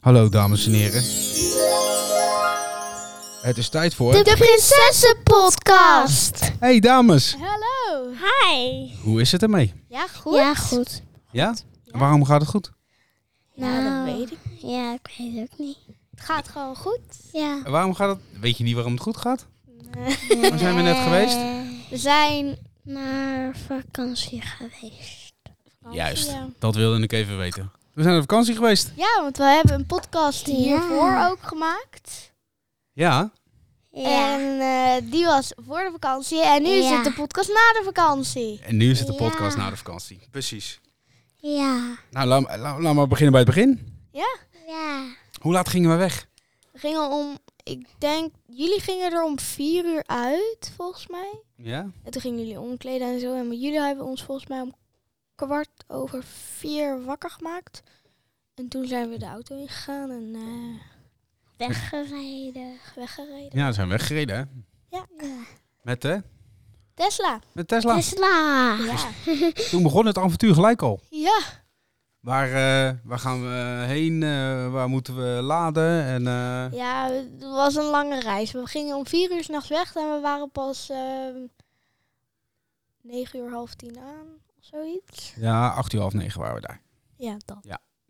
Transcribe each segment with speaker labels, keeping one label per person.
Speaker 1: Hallo dames en heren. Het is tijd voor...
Speaker 2: De Prinsessenpodcast.
Speaker 1: Hey dames,
Speaker 3: Hallo.
Speaker 2: Hi.
Speaker 1: hoe is het ermee?
Speaker 3: Ja, goed.
Speaker 2: Ja, goed.
Speaker 1: Ja? En waarom gaat het goed?
Speaker 3: Nou,
Speaker 2: Nou.
Speaker 3: dat weet ik.
Speaker 2: Ja, ik weet het ook niet.
Speaker 3: Het gaat gewoon goed.
Speaker 2: Ja.
Speaker 1: En waarom gaat het... Weet je niet waarom het goed gaat? Waar zijn we net geweest?
Speaker 3: We zijn...
Speaker 2: Eh, Naar vakantie geweest.
Speaker 1: Juist,
Speaker 3: Ja.
Speaker 1: dat wilde ik even weten. We zijn op vakantie geweest.
Speaker 3: Ja, want we hebben een podcast hiervoor
Speaker 2: Ja.
Speaker 3: ook gemaakt.
Speaker 1: Ja.
Speaker 2: Ja.
Speaker 3: En eh, die was voor de vakantie. En nu
Speaker 2: Ja.
Speaker 3: zit de podcast na de vakantie.
Speaker 1: En nu is het de podcast
Speaker 2: Ja.
Speaker 1: na de vakantie. Precies.
Speaker 2: Ja.
Speaker 1: Nou, laat, laat, laat maar beginnen bij het begin.
Speaker 2: Ja.
Speaker 1: Hoe laat gingen we weg?
Speaker 3: We gingen om... Ik denk... Jullie gingen er om vier uur uit, volgens mij.
Speaker 1: Ja.
Speaker 3: En toen gingen jullie omkleden en zo. En jullie hebben ons volgens mij om kwart over vier wakker gemaakt. En toen zijn we de auto ingegaan en eh,
Speaker 2: Weggereden.
Speaker 3: weggereden.
Speaker 1: Ja, we zijn weggereden, hè?
Speaker 3: Ja.
Speaker 1: Met, hè?
Speaker 3: Tesla.
Speaker 1: Met Tesla.
Speaker 2: Tesla.
Speaker 3: Ja.
Speaker 1: Toen begon het avontuur gelijk al.
Speaker 3: Ah. Ja.
Speaker 1: Waar, eh, waar gaan we heen? Eh, waar moeten we laden? En, eh,
Speaker 3: Ja, het was een lange reis. We gingen om vier uur 's nachts weg en we waren pas ehm negen uur half tien aan of zoiets.
Speaker 1: Ja, 8 uur half negen waren we daar.
Speaker 3: Ja, dat.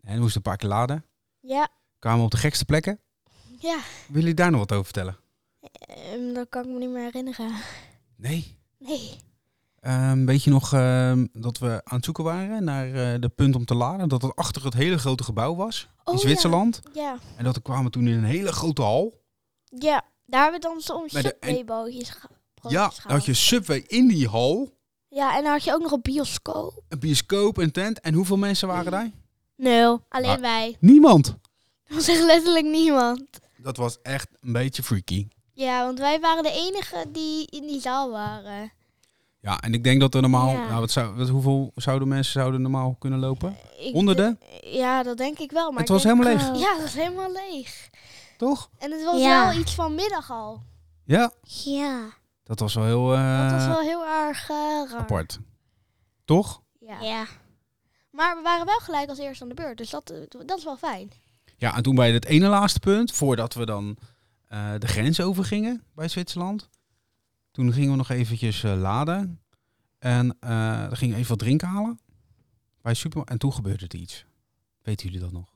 Speaker 1: En we moesten een paar keer laden.
Speaker 3: Ja,
Speaker 1: Kwamen we op de gekste plekken.
Speaker 3: ja.
Speaker 1: Willen jullie daar nog wat over vertellen?
Speaker 3: Ehm, dat kan ik me niet meer herinneren.
Speaker 1: Nee.
Speaker 3: Nee.
Speaker 1: Ehm, weet je nog ehm, dat we aan het zoeken waren naar eh, de punt om te laden? Dat het achter het hele grote gebouw was
Speaker 3: Oh,
Speaker 1: in Zwitserland.
Speaker 3: Ja. ja.
Speaker 1: En dat we kwamen toen in een hele grote hal.
Speaker 3: Ja, daar hebben we dan soms
Speaker 1: Bij de- en-
Speaker 3: subwaybootjes ge-
Speaker 1: ja,
Speaker 3: broodjes
Speaker 1: dan had
Speaker 3: gehaald.
Speaker 1: je Subway in die hal.
Speaker 3: Ja, en dan had je ook nog een bioscoop.
Speaker 1: Een bioscoop, een tent. En hoeveel mensen waren daar?
Speaker 3: Nul, alleen
Speaker 1: Maar-
Speaker 3: wij.
Speaker 1: Niemand.
Speaker 3: Dat was echt letterlijk niemand.
Speaker 1: Dat was echt een beetje freaky.
Speaker 3: Ja, want wij waren de enigen die in die zaal waren.
Speaker 1: Ja, en ik denk dat er normaal...
Speaker 2: Ja.
Speaker 1: Nou, wat zou, wat, hoeveel zouden mensen zouden normaal kunnen lopen?
Speaker 3: Ik
Speaker 1: Honderden?
Speaker 3: denk- Ja, dat denk ik wel. Maar
Speaker 1: Het
Speaker 3: ik
Speaker 1: was
Speaker 3: denk- eh,
Speaker 1: helemaal leeg,
Speaker 2: Oh.
Speaker 3: Ja, dat was helemaal leeg.
Speaker 1: toch?
Speaker 3: En het was
Speaker 2: Ja.
Speaker 3: wel iets van middag al.
Speaker 1: Ja.
Speaker 2: Ja.
Speaker 1: Dat was wel heel eh,
Speaker 3: Dat was wel heel erg eh, raar.
Speaker 1: apart. Toch?
Speaker 3: Ja.
Speaker 2: Ja.
Speaker 3: Maar we waren wel gelijk als eerste aan de beurt. Dus dat, eh, dat is wel fijn.
Speaker 1: Ja, en toen bij het ene laatste punt, voordat we dan eh, de grens overgingen bij Zwitserland, toen gingen we nog eventjes eh, laden. En eh dan gingen we even wat drinken halen bij super. En toen gebeurde er iets. Weten jullie dat nog?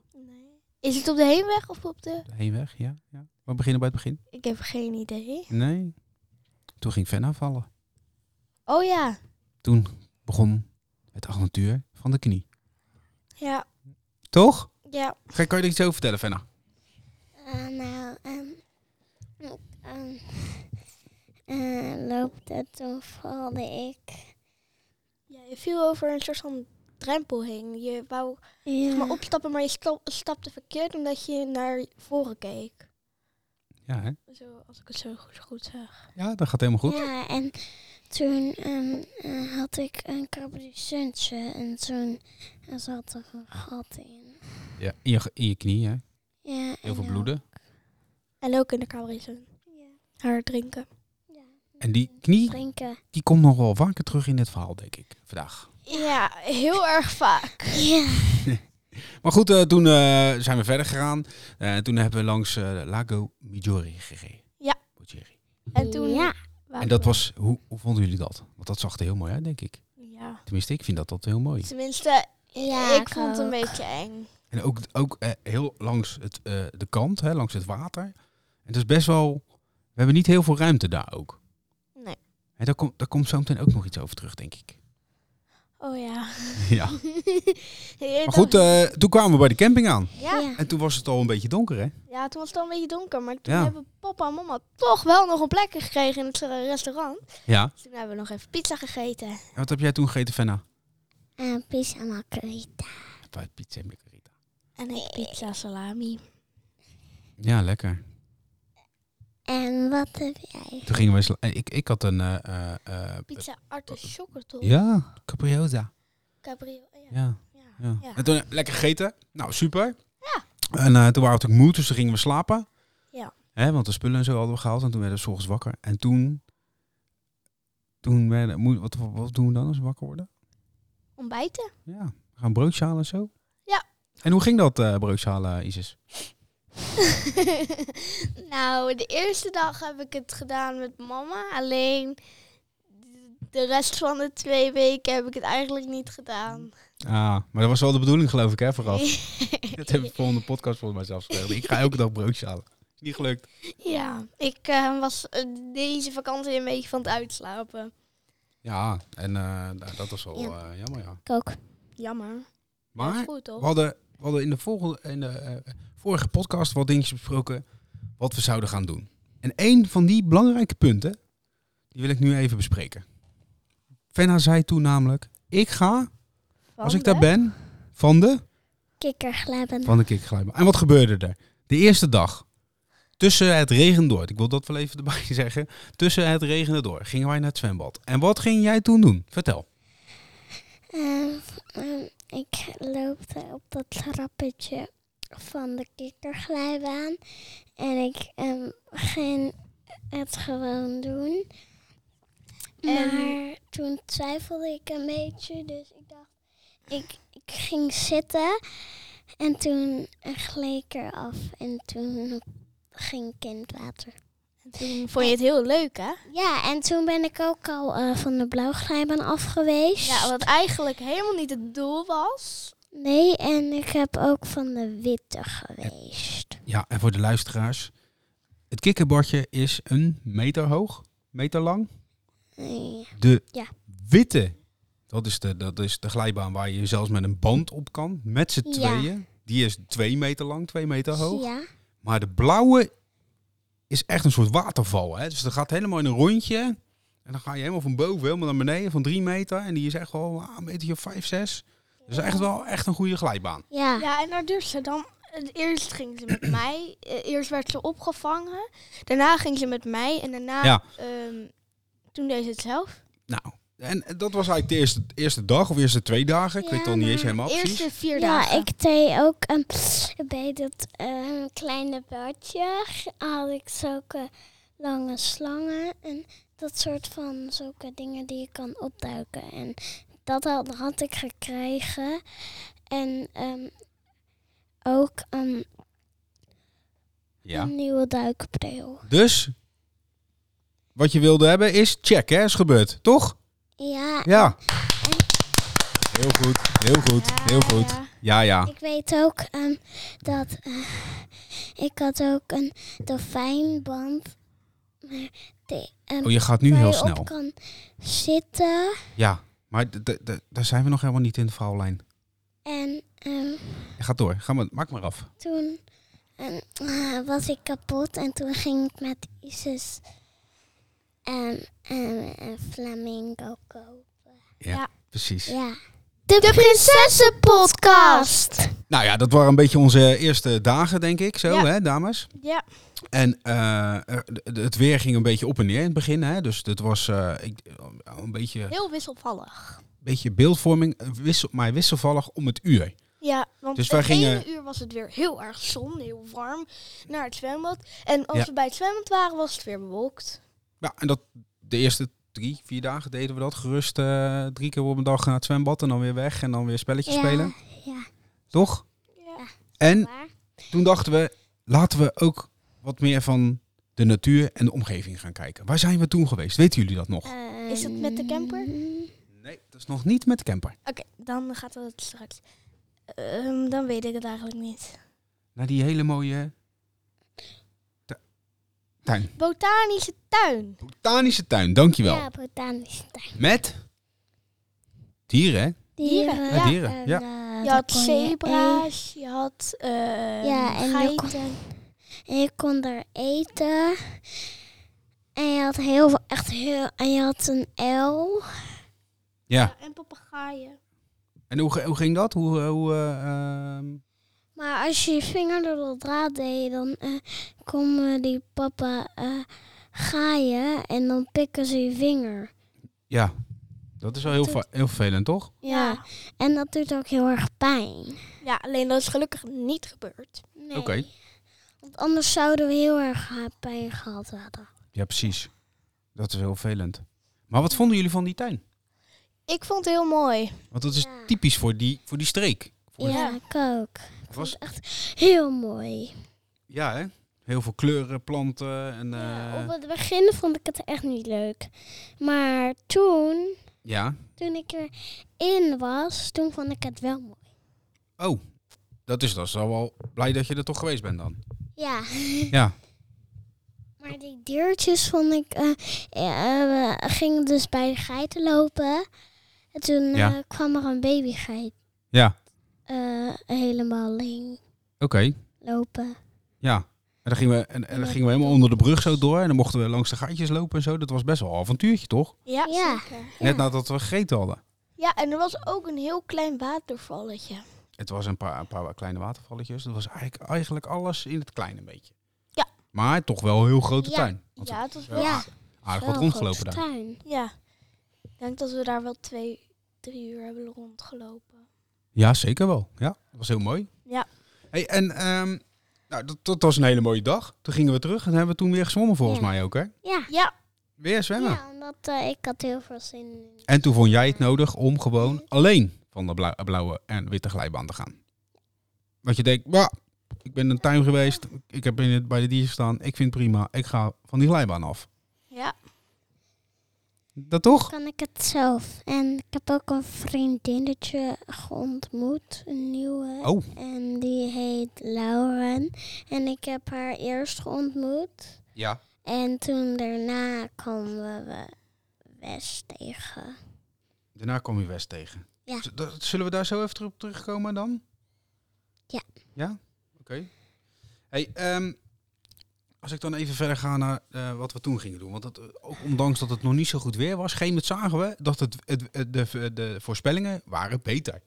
Speaker 3: Is het op de heenweg of op de...
Speaker 1: De heenweg, ja. ja. We beginnen bij het begin.
Speaker 3: Ik heb geen idee.
Speaker 1: Nee. Toen ging Fenna vallen.
Speaker 3: Oh ja.
Speaker 1: Toen begon het avontuur van de knie.
Speaker 3: Ja.
Speaker 1: Toch?
Speaker 3: Ja.
Speaker 1: Kijk, kan je er iets over vertellen, Fenna?
Speaker 2: Eh, nou, ehm, ik ehm, eh, loopte toen valde ik.
Speaker 3: Ja, je viel over een soort van drempel heen. Je wou
Speaker 2: Ja.
Speaker 3: maar opstappen, maar je sta- stapte verkeerd omdat je naar voren keek.
Speaker 1: Ja, hè?
Speaker 3: Zo, als ik het zo goed, goed zeg.
Speaker 1: ja, dat gaat helemaal goed.
Speaker 2: Ja, en toen ehm, eh, had ik een cabricuntje en toen eh, zat er een gat in.
Speaker 1: Ja, in, je, in je knie, hè?
Speaker 2: Ja,
Speaker 1: Heel
Speaker 2: en
Speaker 1: veel
Speaker 2: dan-
Speaker 1: bloeden.
Speaker 3: En ook in de kamer
Speaker 2: Ja,
Speaker 3: haar drinken.
Speaker 2: ja.
Speaker 1: En die knie,
Speaker 2: Drinken.
Speaker 1: die komt nog wel vaker terug in dit verhaal, denk ik, vandaag.
Speaker 3: Ja, heel erg vaak.
Speaker 2: Ja.
Speaker 1: Maar goed, eh, toen eh, zijn we verder gegaan. Eh, toen hebben we langs eh, Lago Maggiore gereden.
Speaker 3: Ja.
Speaker 1: Maggiore.
Speaker 3: En toen
Speaker 2: Ja.
Speaker 3: waren
Speaker 1: En dat
Speaker 3: we-
Speaker 1: was, hoe, hoe vonden jullie dat? Want dat zag er heel mooi uit, denk ik.
Speaker 3: Ja.
Speaker 1: Tenminste, ik vind dat dat heel mooi.
Speaker 3: Tenminste,
Speaker 2: Ja,
Speaker 3: ik
Speaker 2: ik
Speaker 3: vond het een
Speaker 2: ook.
Speaker 3: beetje eng.
Speaker 1: En ook, ook eh, heel langs het, eh, de kant, hè, langs het water. En het is best wel, we hebben niet heel veel ruimte daar ook.
Speaker 3: Nee.
Speaker 1: En daar, komt daar komt zo meteen ook nog iets over terug, denk ik.
Speaker 3: Oh ja.
Speaker 1: Ja.
Speaker 3: Ja,
Speaker 1: Maar goed, eh, toen kwamen we bij de camping aan.
Speaker 3: ja.
Speaker 2: Ja.
Speaker 1: En toen was het al een beetje donker, hè?
Speaker 3: ja, toen was het al een beetje donker. Maar toen
Speaker 1: Ja.
Speaker 3: hebben papa en mama toch wel nog een plekje gekregen in het eh, restaurant.
Speaker 1: Ja.
Speaker 3: Dus toen hebben we nog even pizza gegeten.
Speaker 1: En wat heb jij toen gegeten, Fenna?
Speaker 2: En pizza margarita.
Speaker 1: Bij pizza en margarita.
Speaker 3: En ik pizza salami.
Speaker 1: Ja, lekker.
Speaker 2: En wat heb jij?
Speaker 1: Toen gingen we... sla- eh, Ik, ik had een... eh, eh, eh,
Speaker 3: Pizza artichokkertop.
Speaker 1: ja, caprioza.
Speaker 3: Cabrio. eh, Ja.
Speaker 1: Ja,
Speaker 3: ja.
Speaker 1: ja.
Speaker 3: Ja.
Speaker 1: En toen eh, lekker gegeten. Nou, super. Ja. En eh, toen waren we natuurlijk moe, dus toen gingen we slapen.
Speaker 3: Ja.
Speaker 1: Hè, want de spullen en zo hadden we gehaald. En toen werden we 's ochtends wakker. En toen... Toen werden... moe- Wat, wat, wat doen we dan als we wakker worden?
Speaker 3: Ontbijten?
Speaker 1: Ja, we gaan broodje halen en zo.
Speaker 3: Ja.
Speaker 1: En hoe ging dat, eh Breukzaal, eh, Isis?
Speaker 3: nou, de eerste dag heb ik het gedaan met mama. Alleen de rest van de twee weken heb ik het eigenlijk niet gedaan.
Speaker 1: Ah, maar dat was wel de bedoeling, geloof ik, hè, vooraf. dat heb ik volgende podcast volgens mij zelfs gezegd. Ik ga elke dag broodjes halen. Is niet gelukt.
Speaker 3: ja, ik eh, was eh, deze vakantie een beetje van het uitslapen.
Speaker 1: Ja, en eh, nou, dat was wel
Speaker 2: Ja.
Speaker 1: eh, jammer, ja.
Speaker 2: Ik ook.
Speaker 3: Jammer. Dat
Speaker 1: Maar
Speaker 3: is goed
Speaker 1: we
Speaker 3: toch?
Speaker 1: hadden, we hadden in de, volgende, in de eh, vorige podcast wat dingetjes besproken wat we zouden gaan doen. En een van die belangrijke punten, die wil ik nu even bespreken. Fenna zei toen namelijk, ik ga, als ik daar ben, van de...
Speaker 2: Kikkerglijden.
Speaker 1: Van de kikkerglijbaan. En wat gebeurde er? De eerste dag, tussen het regen door, ik wil dat wel even erbij zeggen, tussen het regenen door, gingen wij naar het zwembad. En wat ging jij toen doen? Vertel.
Speaker 2: Ehm, ehm, ik loopte op dat trappetje van de kikkerglijbaan. En ik ehm, ging het gewoon doen.
Speaker 3: En-
Speaker 2: Maar toen twijfelde ik een beetje. Dus ik dacht, ik, ik ging zitten. En toen gleed ik eraf. En toen ging ik in het water.
Speaker 3: Toen vond je het heel leuk, hè?
Speaker 2: Ja, en toen ben ik ook al eh, van de blauwglijbaan af geweest.
Speaker 3: Ja, wat eigenlijk helemaal niet het doel was.
Speaker 2: Nee, en ik heb ook van de witte geweest.
Speaker 1: Ja, en voor de luisteraars, het kikkerbadje is een meter hoog, meter lang.
Speaker 2: Nee.
Speaker 1: De
Speaker 2: Ja.
Speaker 1: witte, dat is de, dat is de glijbaan waar je zelfs met een band op kan, met z'n
Speaker 2: Ja.
Speaker 1: tweeën. Die is twee meter lang, twee meter hoog.
Speaker 2: Ja.
Speaker 1: Maar de blauwe is echt een soort waterval. Hè? Dus dat gaat helemaal in een rondje. En dan ga je helemaal van boven helemaal naar beneden van drie meter. En die is echt wel ah, een metertje of vijf, zes. Dus echt wel echt een goede glijbaan.
Speaker 2: Ja.
Speaker 3: Ja, en daar durfde ze dan. eh, Eerst ging ze met mij. eh, Eerst werd ze opgevangen. Daarna ging ze met mij. En daarna.
Speaker 1: Ja.
Speaker 3: ehm, toen deed ze het zelf.
Speaker 1: Nou, en dat was eigenlijk de eerste, eerste dag of eerste twee dagen. Ik
Speaker 2: Ja,
Speaker 1: weet het al niet eens
Speaker 2: maar
Speaker 1: helemaal precies.
Speaker 3: Eerste vier
Speaker 2: Ja,
Speaker 3: dagen.
Speaker 2: ik deed ook ehm, bij dat ehm, kleine badje g- had ik zulke lange slangen en dat soort van zulke dingen die je kan opduiken. En dat had, had ik gekregen. En ehm, ook ehm,
Speaker 1: Ja.
Speaker 2: een nieuwe duikbril.
Speaker 1: Dus wat je wilde hebben is check, hè? Is gebeurd, toch?
Speaker 2: Ja,
Speaker 1: Ja. Heel goed, heel goed, heel goed.
Speaker 3: Ja.
Speaker 1: Ja, ja.
Speaker 2: Ik weet ook ehm, dat eh, ik had ook een dolfijnband. Maar die, ehm,
Speaker 1: Oh, je gaat nu
Speaker 2: waar
Speaker 1: heel
Speaker 2: je
Speaker 1: snel.
Speaker 2: op kan zitten.
Speaker 1: Ja, maar d- d- d- daar zijn we nog helemaal niet in de verhaallijn.
Speaker 2: En ehm,
Speaker 1: Ga door, ga maar, maak maar af.
Speaker 2: toen ehm, eh, was ik kapot. En toen ging ik met Isis en ehm, een flamingo kopen.
Speaker 1: Precies.
Speaker 2: Ja. De Prinsessenpodcast.
Speaker 1: Nou ja, dat waren een beetje onze eerste dagen, denk ik, zo,
Speaker 3: Ja.
Speaker 1: hè, dames.
Speaker 3: Ja.
Speaker 1: En eh, er- d- het weer ging een beetje op en neer in het begin, hè. Dus dat was eh, ik, een beetje,
Speaker 3: heel wisselvallig.
Speaker 1: beetje beeldvorming, eh, wissel, maar wisselvallig om het uur.
Speaker 3: Ja, want
Speaker 1: Dus
Speaker 3: dus
Speaker 1: wij
Speaker 3: het
Speaker 1: gingen-
Speaker 3: ene uur was het weer heel erg zon, heel warm, naar het zwembad. En als
Speaker 1: Ja.
Speaker 3: we bij het zwembad waren, was het weer bewolkt.
Speaker 1: Ja, Nou, en dat de eerste drie, vier dagen deden we dat gerust eh, drie keer op een dag naar het zwembad en dan weer weg en dan weer spelletjes spelen,
Speaker 2: Ja.
Speaker 1: toch?
Speaker 3: Ja.
Speaker 1: En
Speaker 2: waar?
Speaker 1: toen dachten we, laten we ook wat meer van de natuur en de omgeving gaan kijken. Waar zijn we toen geweest? Weten jullie dat nog?
Speaker 2: Eh.
Speaker 3: Is dat met de camper?
Speaker 2: Ehm,
Speaker 1: Nee, dat is nog niet met de camper.
Speaker 3: Oké, dan gaat het straks. Ehm, dan weet ik het eigenlijk niet.
Speaker 1: Naar die hele mooie tu- tuin.
Speaker 3: Botanische tuin.
Speaker 1: Botanische tuin, dankjewel.
Speaker 2: Ja, botanische tuin.
Speaker 1: Met dieren, hè?
Speaker 3: Dieren,
Speaker 1: ja. dieren,
Speaker 2: en,
Speaker 1: ja.
Speaker 2: eh,
Speaker 3: Je
Speaker 2: daar
Speaker 3: had
Speaker 2: kon e-
Speaker 3: zebra's, je had eh
Speaker 2: Ja, en je kon,
Speaker 3: geiten.
Speaker 2: en je kon daar eten. En je had heel veel, echt heel, en je had een L.
Speaker 1: Ja.
Speaker 3: Ja, en papegaaien.
Speaker 1: En hoe, ge- hoe ging dat? Hoe, eh, hoe, eh, ehm,
Speaker 2: Maar als je je vinger door de draad deed, dan eh, komen die papa eh gaaien en dan pikken ze je vinger.
Speaker 1: ja, dat is wel heel, ver- heel vervelend, toch?
Speaker 2: Ja. En dat doet ook heel erg pijn.
Speaker 3: Ja, alleen dat is gelukkig niet gebeurd.
Speaker 2: Nee.
Speaker 1: Oké.
Speaker 2: Want anders zouden we heel erg eh, pijn gehad hebben.
Speaker 1: Ja, precies. Dat is heel vervelend. Maar wat vonden jullie van die tuin?
Speaker 3: Ik vond het heel mooi.
Speaker 1: Want dat is
Speaker 2: Ja.
Speaker 1: typisch voor die, voor die streek. Voor Vond je
Speaker 2: Ja, ik ook.
Speaker 1: Het
Speaker 2: Was...
Speaker 1: was,
Speaker 2: echt heel mooi.
Speaker 1: ja, hè? Heel veel kleuren, planten en...
Speaker 2: Ja,
Speaker 1: eh,
Speaker 2: op het begin vond ik het echt niet leuk. Maar toen,
Speaker 1: ja.
Speaker 2: toen ik erin was, toen vond ik het wel mooi.
Speaker 1: Oh, dat is, dat is al wel blij dat je er toch geweest bent dan.
Speaker 2: Ja.
Speaker 1: Ja.
Speaker 2: Maar die diertjes vond ik. eh eh, we gingen dus bij de geiten lopen. En toen
Speaker 1: Ja.
Speaker 2: eh, kwam er een babygeit
Speaker 1: Ja,
Speaker 2: eh, helemaal alleen
Speaker 1: oké.
Speaker 2: lopen.
Speaker 1: Ja. En dan gingen we, en, en dan gingen we helemaal onder de brug zo door. En dan mochten we langs de gaatjes lopen en zo. Dat was best wel een avontuurtje, toch?
Speaker 3: Ja,
Speaker 2: Ja.
Speaker 3: zeker.
Speaker 2: Ja.
Speaker 1: Net nadat we gegeten hadden.
Speaker 3: Ja, en er was ook een heel klein watervalletje.
Speaker 1: Het was een paar, een paar kleine watervalletjes. Dat was eigenlijk, eigenlijk alles in het kleine beetje.
Speaker 3: Ja.
Speaker 1: Maar toch wel een heel grote
Speaker 2: Ja.
Speaker 1: tuin. Want
Speaker 3: Ja, het was wel...
Speaker 1: Ja.
Speaker 2: Ja,
Speaker 1: we aardig
Speaker 2: wel
Speaker 1: wat
Speaker 2: een
Speaker 1: rondgelopen
Speaker 2: grote
Speaker 1: daar.
Speaker 2: tuin.
Speaker 3: Ja. Ik denk dat we daar wel twee, drie uur hebben rondgelopen.
Speaker 1: Ja, zeker wel. Ja, dat was heel mooi.
Speaker 3: Ja.
Speaker 1: Hey, en ehm, nou, dat, dat was een hele mooie dag. Toen gingen we terug en hebben we toen weer gezwommen volgens
Speaker 2: Ja.
Speaker 1: mij ook, hè?
Speaker 2: Ja.
Speaker 3: Ja,
Speaker 1: Weer zwemmen.
Speaker 2: ja, omdat eh, ik had heel veel zin in.
Speaker 1: En toen vond jij het nodig om gewoon alleen van de blau- blauwe en witte glijbaan te gaan. Want je denkt, bah, ik ben in de tuin geweest, ik heb in het, bij de dier staan, ik vind het prima, ik ga van die glijbaan af.
Speaker 3: ja.
Speaker 1: Dat toch?
Speaker 2: Kan ik het zelf? En ik heb ook een vriendinnetje geontmoet, een nieuwe.
Speaker 1: Oh,
Speaker 2: En die heet Lauren. En ik heb haar eerst geontmoet.
Speaker 1: ja.
Speaker 2: En toen daarna kwamen we West tegen.
Speaker 1: Daarna kwam je West tegen.
Speaker 2: Ja.
Speaker 1: Z- dat- Zullen we daar zo even op terugkomen dan?
Speaker 2: Ja.
Speaker 1: Ja? Oké. Hey, ehm, als ik dan even verder ga naar eh, wat we toen gingen doen. Want dat, eh, ook ondanks dat het nog niet zo goed weer was, geen met zagen we dat het, het, het- de, de voorspellingen waren beter.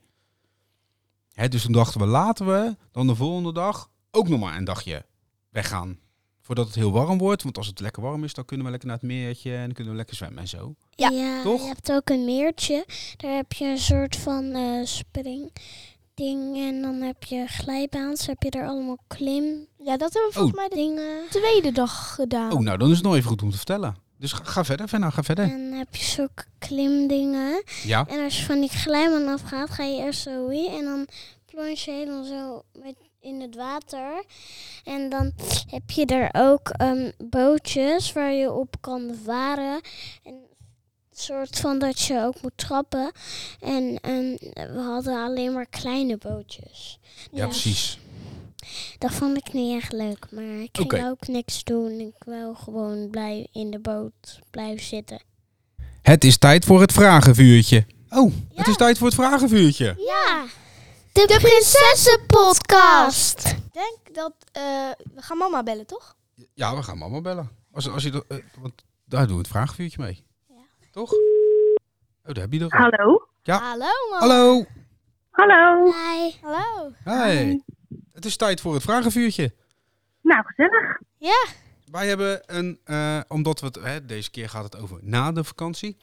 Speaker 1: Hè, dus toen dachten we, laten we dan de volgende dag ook nog maar een dagje weggaan. Voordat het heel warm wordt. Want als het lekker warm is, dan kunnen we lekker naar het meertje en dan kunnen we lekker zwemmen en zo.
Speaker 3: Ja,
Speaker 1: toch?
Speaker 2: je hebt ook een meertje. Daar heb je een soort van eh springding. En dan heb je glijbaans. heb je daar allemaal klimdingen.
Speaker 3: Ja, dat hebben we volgens mij de tweede dag gedaan.
Speaker 1: Oh, nou dan is het nog even goed om te vertellen. Dus ga, ga verder, Venna, ga verder.
Speaker 2: En dan heb je zulke klimdingen.
Speaker 1: Ja.
Speaker 2: En als je van die glijbaan afgaat, ga je eerst zo wie. En dan plons je helemaal zo met in het water. En dan heb je er ook ehm, bootjes waar je op kan varen. En een soort van dat je ook moet trappen. En ehm, we hadden alleen maar kleine bootjes.
Speaker 1: Ja, precies.
Speaker 2: Dat vond ik niet echt leuk, maar ik ging
Speaker 1: Oké.
Speaker 2: ook niks doen. Ik wil gewoon blij in de boot blijven zitten.
Speaker 1: Het is tijd voor het vragenvuurtje. Oh, het
Speaker 2: Ja.
Speaker 1: is tijd voor het vragenvuurtje.
Speaker 2: Ja! De, Prinsessenpodcast!
Speaker 3: Ik denk dat... eh, we gaan mama bellen, toch?
Speaker 1: Ja, we gaan mama bellen. Als, als je, dat- eh, want daar doen we het vragenvuurtje mee.
Speaker 3: Ja.
Speaker 1: Toch? Oh, daar heb je er. al.
Speaker 4: Hallo.
Speaker 1: Ja.
Speaker 3: Hallo, mama.
Speaker 1: Hallo.
Speaker 4: Hallo.
Speaker 2: Hi!
Speaker 3: Hallo.
Speaker 1: Hi. Het is tijd voor het vragenvuurtje.
Speaker 4: Nou, gezellig.
Speaker 3: Ja.
Speaker 1: Wij hebben een, eh, omdat we het, hè, deze keer gaat het over na de vakantie,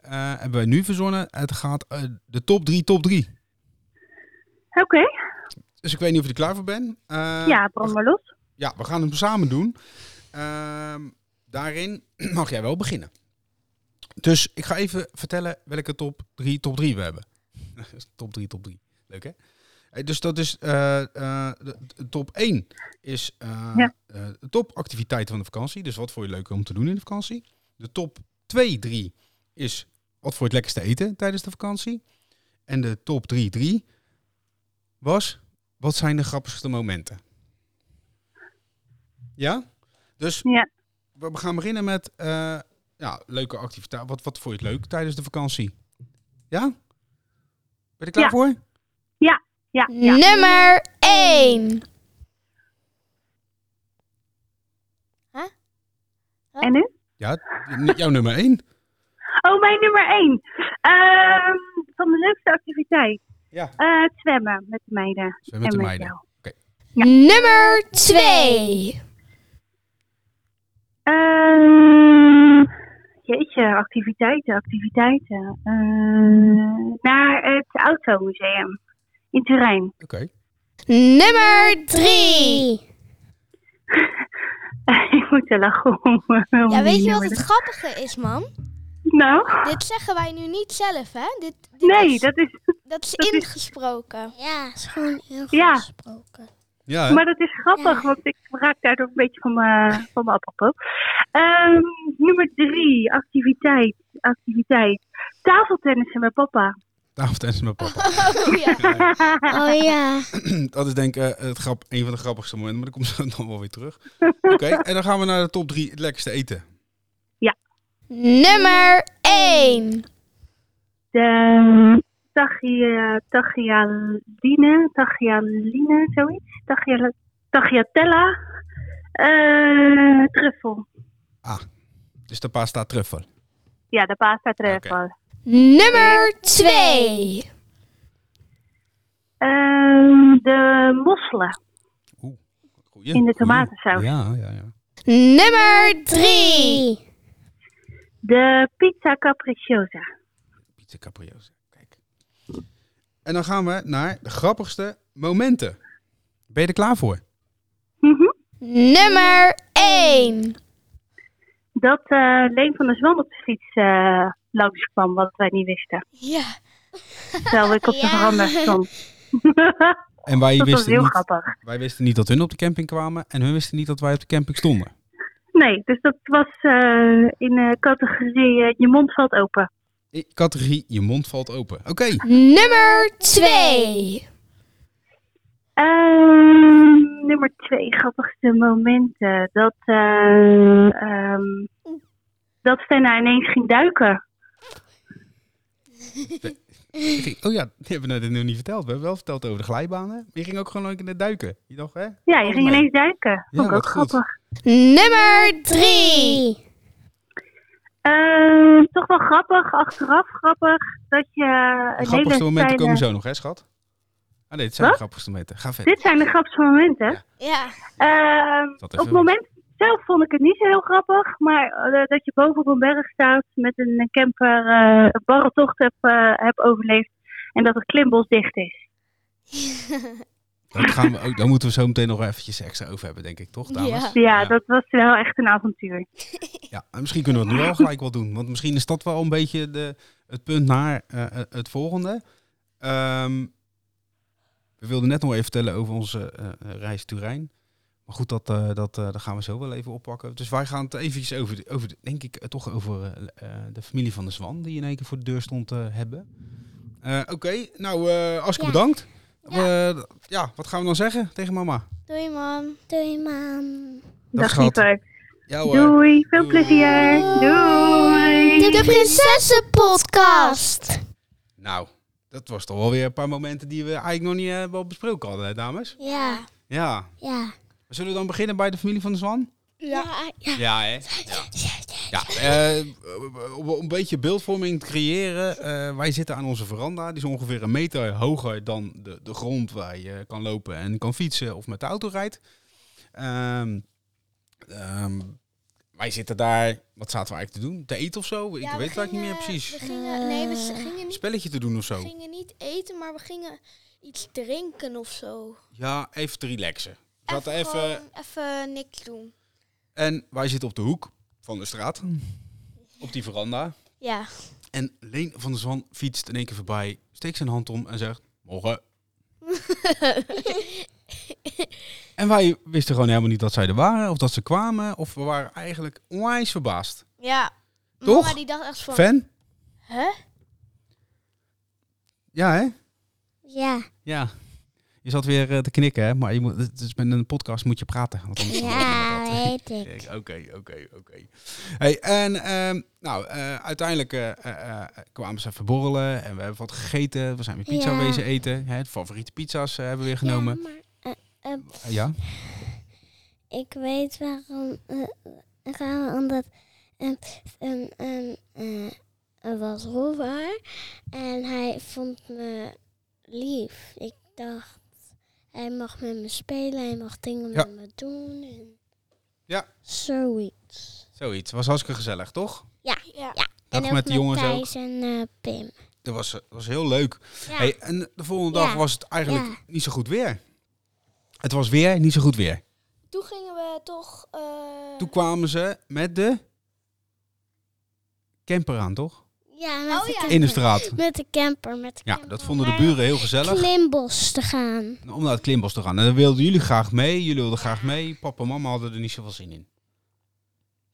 Speaker 1: eh, hebben wij nu verzonnen, het gaat eh, de top 3, top 3.
Speaker 4: Oké.
Speaker 1: Dus ik weet niet of je er klaar voor bent. Eh,
Speaker 4: ja, brand maar los.
Speaker 1: Ja, we gaan hem samen doen. Ehm, daarin mag jij wel beginnen. Dus ik ga even vertellen welke top 3 top 3 we hebben. top 3 top 3. Leuk hè? Hey, dus dat is eh, eh, de, de top 1 is eh
Speaker 4: Ja.
Speaker 1: eh, de topactiviteiten van de vakantie. Dus wat vond je leuk om te doen in de vakantie? De top 2, 3 is wat voor het lekkerste eten tijdens de vakantie. En de top 3, 3 was wat zijn de grappigste momenten? Ja? Dus
Speaker 4: Ja.
Speaker 1: we we gaan beginnen met eh, ja, leuke activiteiten. Wat, wat vond je het leuk tijdens de vakantie? Ja? Ben je er klaar
Speaker 4: Ja.
Speaker 1: voor?
Speaker 4: Ja, ja.
Speaker 3: Nummer 1.
Speaker 4: En nu?
Speaker 1: Ja, n- jouw nummer 1.
Speaker 4: Oh, mijn nummer 1. van de leukste activiteit.
Speaker 1: Ja.
Speaker 4: Eh, het zwemmen met de meiden.
Speaker 1: Zwemmen met
Speaker 4: en
Speaker 1: de
Speaker 4: met
Speaker 1: meiden.
Speaker 4: jou.
Speaker 3: Nummer 2.
Speaker 4: Ehm, jeetje, activiteiten, activiteiten. Ehm, naar het automuseum in Turijn.
Speaker 1: Oké.
Speaker 3: Nummer 3.
Speaker 4: Ik moet er lachen om. om
Speaker 3: Ja,
Speaker 4: die
Speaker 3: weet je wat het
Speaker 4: nummer.
Speaker 3: grappige is, man?
Speaker 4: het nou?
Speaker 3: Dit zeggen wij nu niet zelf, hè? Dit, dit
Speaker 4: Nee,
Speaker 3: is,
Speaker 4: dat is,
Speaker 3: dat is
Speaker 4: dat is-
Speaker 3: ingesproken.
Speaker 2: Ja, het is gewoon heel goed
Speaker 4: Ja.
Speaker 2: gesproken.
Speaker 1: Ja, hè?
Speaker 4: maar dat is grappig,
Speaker 2: Ja.
Speaker 4: want ik raak daardoor een beetje van mijn van mijn apropos. Ehm, nummer drie, activiteit. activiteit. Tafeltennissen met papa.
Speaker 1: tafeltennis met papa.
Speaker 3: Oh, ja.
Speaker 2: Oh ja,
Speaker 1: dat is denk ik eh, het grap, een van de grappigste momenten, maar daar komt ze dan wel weer terug. Oké, en dan gaan we naar de top drie het lekkerste eten.
Speaker 3: Nummer 1.
Speaker 4: De ehm, eh, tagia, tagialine, tagialine, zoiets. Tagia, tagliatella, eh, truffel.
Speaker 1: Dus de pasta truffel.
Speaker 4: Ja, de pasta truffel.
Speaker 3: Nummer 2.
Speaker 4: Ehm, de mosselen
Speaker 1: Goeie,
Speaker 4: in de
Speaker 1: goeie.
Speaker 4: tomatensaus.
Speaker 1: Ja, ja, ja.
Speaker 3: Nummer 3.
Speaker 4: De pizza capricciosa.
Speaker 1: Pizza capriosa. Kijk. En dan gaan we naar de grappigste momenten. Ben je er klaar voor?
Speaker 4: Mhm.
Speaker 3: Nummer 1.
Speaker 4: Dat eh, Leen van der Zwan op de fiets eh langskwam, wat wij niet wisten.
Speaker 3: Ja.
Speaker 4: Terwijl ik op de
Speaker 2: Ja.
Speaker 4: veranda stond.
Speaker 1: En wij
Speaker 4: dat was
Speaker 1: wisten,
Speaker 4: heel
Speaker 1: niet,
Speaker 4: grappig.
Speaker 1: wij wisten niet dat hun op de camping kwamen en hun wisten niet dat wij op de camping stonden.
Speaker 4: Nee, dus dat was eh, in de categorie eh, Je mond valt open.
Speaker 1: I- Categorie, je mond valt open. Oké,
Speaker 3: Nummer 2.
Speaker 4: Ehm, nummer twee, grappigste momenten. Dat, eh ehm dat Stena ineens ging duiken.
Speaker 1: Je ging- oh ja, die hebben we net nog niet verteld. We hebben wel verteld over de glijbanen. Maar je ging ook gewoon lekker naar duiken. Je dacht, hè?
Speaker 4: Ja, je ging
Speaker 1: nee.
Speaker 4: ineens duiken. Vond ik
Speaker 1: Oh, wat
Speaker 4: ook
Speaker 1: goed.
Speaker 4: grappig.
Speaker 3: Nummer 3.
Speaker 4: Ehm, toch wel grappig, achteraf grappig, dat je eh, een
Speaker 1: De grappigste
Speaker 4: hele
Speaker 1: momenten
Speaker 4: kleine...
Speaker 1: komen zo nog, hè, schat? Ah nee, dit zijn de
Speaker 4: Wat?
Speaker 1: grappigste momenten. Ga verder.
Speaker 4: Dit zijn de grappigste momenten.
Speaker 3: Ja.
Speaker 4: Ehm,
Speaker 1: Dat
Speaker 4: op
Speaker 1: even
Speaker 4: het moment zelf vond ik het niet zo heel grappig, maar eh, dat je boven op een berg staat met een camper eh, een barre tocht hebt eh, hebt overleefd en dat het klimbos dicht is.
Speaker 1: Dat gaan we ook, daar moeten we zo meteen nog eventjes extra over hebben, denk ik, toch, dames?
Speaker 3: Ja.
Speaker 4: Ja,
Speaker 1: Ja.
Speaker 4: dat was wel echt een avontuur.
Speaker 1: Ja, en misschien kunnen we het nu al gelijk wel doen. Want misschien is dat wel een beetje de, het punt naar eh, eh, het volgende. Ehm, we wilden net nog even vertellen over onze eh, eh, reis Turijn. Maar goed, dat, eh, dat, eh, dat gaan we zo wel even oppakken. Dus wij gaan het eventjes over, de- over de- denk ik, eh, toch over eh, eh, de familie van de Zwan. Die in één keer voor de deur stond eh, hebben. Eh, Oké, nou, eh Aske
Speaker 2: Ja.
Speaker 1: bedankt. We- ja, wat gaan we dan zeggen tegen mama?
Speaker 3: Doei, mam.
Speaker 2: doei maan.
Speaker 1: Dat
Speaker 4: Dag
Speaker 1: schat.
Speaker 4: lieverd.
Speaker 1: Ja
Speaker 4: Doei, veel
Speaker 1: Doei.
Speaker 4: plezier. Doei.
Speaker 3: De Prinsessenpodcast.
Speaker 1: Nou, dat was toch wel weer een paar momenten die we eigenlijk nog niet eh, wel besproken hadden, hè, dames.
Speaker 2: Ja,
Speaker 1: Ja.
Speaker 2: ja.
Speaker 1: Zullen we dan beginnen bij de familie van de Zwan?
Speaker 2: Ja, ja.
Speaker 1: Ja, hè? Ja. ja eh, om een beetje beeldvorming te creëren. eh, wij zitten aan onze veranda. Die is ongeveer een meter hoger dan de, de grond waar je eh, kan lopen en kan fietsen of met de auto rijdt. Ehm, ehm, wij zitten daar, wat zaten we eigenlijk te doen? Te eten of zo? Ik weet het eigenlijk niet meer precies.
Speaker 3: We gingen, nee, we ze-
Speaker 2: Eh,
Speaker 3: gingen
Speaker 1: Een
Speaker 3: niet,
Speaker 1: spelletje te doen of
Speaker 3: we
Speaker 1: zo.
Speaker 3: gingen niet eten, maar we gingen iets drinken of zo.
Speaker 1: Ja, even te relaxen. We zaten even
Speaker 3: gewoon even niks doen.
Speaker 1: En wij zitten op de hoek van de straat. Op die veranda.
Speaker 3: Ja.
Speaker 1: En Leen van der Zwan fietst in één keer voorbij, steekt zijn hand om en zegt: Morgen. en wij wisten gewoon helemaal niet dat zij er waren, of dat ze kwamen, of we waren eigenlijk onwijs verbaasd.
Speaker 3: Ja.
Speaker 1: Toch?
Speaker 3: Mama die dacht echt van...
Speaker 1: Fan?
Speaker 3: Hè?
Speaker 1: Ja, hè?
Speaker 2: Ja,
Speaker 1: Ja. Je zat weer eh, te knikken, hè? Maar je moet, het is met een podcast moet je praten. Want anders hoort niemand dat.
Speaker 2: ja, weet ik.
Speaker 1: Kijk, Oké, oké, oké. Hey, En ehm, nou, eh, uiteindelijk eh, eh, eh, kwamen ze even borrelen en we hebben wat gegeten. We zijn weer pizza
Speaker 2: Ja.
Speaker 1: wezen eten. Hè, de favoriete pizza's eh, hebben we weer genomen.
Speaker 2: Ja, maar eh, eh,
Speaker 1: Eh, Ja,
Speaker 2: ik weet waarom. eh, waarom omdat het een, een, eh, er was Rover en hij vond me lief. Ik dacht, hij mag met me spelen, hij mag dingen
Speaker 1: Ja.
Speaker 2: met me doen. En
Speaker 1: Ja.
Speaker 2: Zoiets.
Speaker 1: zoiets. Was hartstikke gezellig, toch?
Speaker 3: Ja.
Speaker 1: Dag
Speaker 2: en ook
Speaker 1: met de jongens ook.
Speaker 2: Thijs en eh, Pim.
Speaker 1: Dat was, eh, was heel leuk.
Speaker 2: Ja.
Speaker 1: Hey, en de volgende dag
Speaker 2: Ja.
Speaker 1: was het eigenlijk
Speaker 2: Ja.
Speaker 1: niet zo goed weer. Het was weer niet zo goed weer.
Speaker 3: Toen gingen we toch... eh,
Speaker 1: Toen kwamen ze met de camper aan, toch?
Speaker 2: Ja, met,
Speaker 3: Oh
Speaker 2: de
Speaker 3: ja.
Speaker 2: camper.
Speaker 1: In de straat.
Speaker 2: met de camper. Met de
Speaker 1: Ja,
Speaker 2: camper.
Speaker 1: dat vonden de buren heel gezellig.
Speaker 2: Klimbos te gaan.
Speaker 1: Om naar het klimbos te gaan. En dan wilden jullie graag mee. Jullie wilden graag mee. Papa en mama hadden er niet zoveel zin in.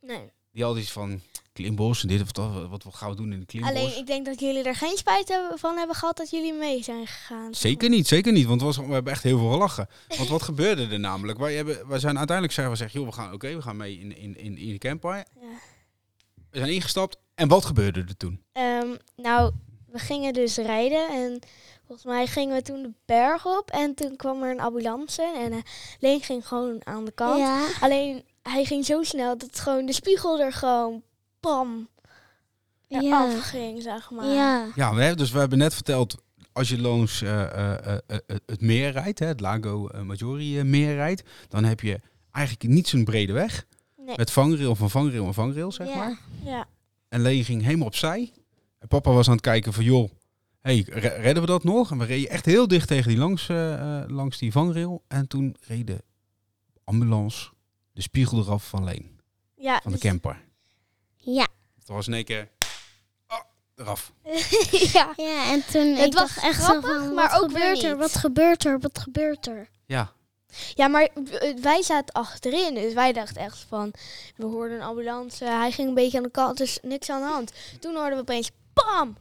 Speaker 3: Nee.
Speaker 1: Die hadden iets van klimbos en dit of dat. Wat, wat gaan we doen in de klimbos?
Speaker 3: Alleen, ik denk dat jullie er geen spijt hebben- van hebben gehad dat jullie mee zijn gegaan.
Speaker 1: Zeker niet, zeker niet. Want het was, we hebben echt heel veel gelachen. Want wat gebeurde er namelijk? Wij, hebben, wij zijn uiteindelijk zeggen we zeggen, joh, we gaan oké, we gaan mee in, in, in, in de camper.
Speaker 3: Ja.
Speaker 1: We zijn ingestapt. En wat gebeurde er toen?
Speaker 3: Ehm, nou, we gingen dus rijden en volgens mij gingen we toen de berg op. En toen kwam er een ambulance en eh, Leen ging gewoon aan de kant.
Speaker 2: Ja.
Speaker 3: Alleen, hij ging zo snel dat gewoon de spiegel er gewoon bam
Speaker 2: Ja.
Speaker 3: af ging, zeg maar.
Speaker 2: Ja.
Speaker 1: Ja, we hebben, dus we hebben net verteld, als je langs eh, eh, eh, eh, het meer rijdt, hè, het Lago eh, Maggiore eh, meer rijdt, dan heb je eigenlijk niet zo'n brede weg.
Speaker 3: Nee.
Speaker 1: Met vangrail van vangrail en vangrail, zeg
Speaker 2: Ja.
Speaker 1: maar.
Speaker 3: Ja.
Speaker 1: En Leen ging helemaal opzij. En papa was aan het kijken van, joh, hey, re- redden we dat nog? En we reden echt heel dicht tegen die langs, eh, eh, langs die vangrail. En toen reed de ambulance de spiegel eraf van Leen,
Speaker 3: Ja,
Speaker 1: van de
Speaker 3: dus-
Speaker 1: camper.
Speaker 2: Ja.
Speaker 1: Het was in één keer ah, eraf.
Speaker 3: ja.
Speaker 2: Ja, en toen
Speaker 3: Het
Speaker 2: ik
Speaker 3: was
Speaker 2: dacht echt zo
Speaker 3: grappig,
Speaker 2: van,
Speaker 3: maar
Speaker 2: wat
Speaker 3: ook weer
Speaker 2: gebeurt er,
Speaker 3: niet.
Speaker 2: wat gebeurt er, wat gebeurt er?
Speaker 1: Ja,
Speaker 3: ja, maar w- wij zaten achterin, dus wij dachten echt van, we hoorden een ambulance, hij ging een beetje aan de kant, dus niks aan de hand. Toen hoorden we opeens bam! En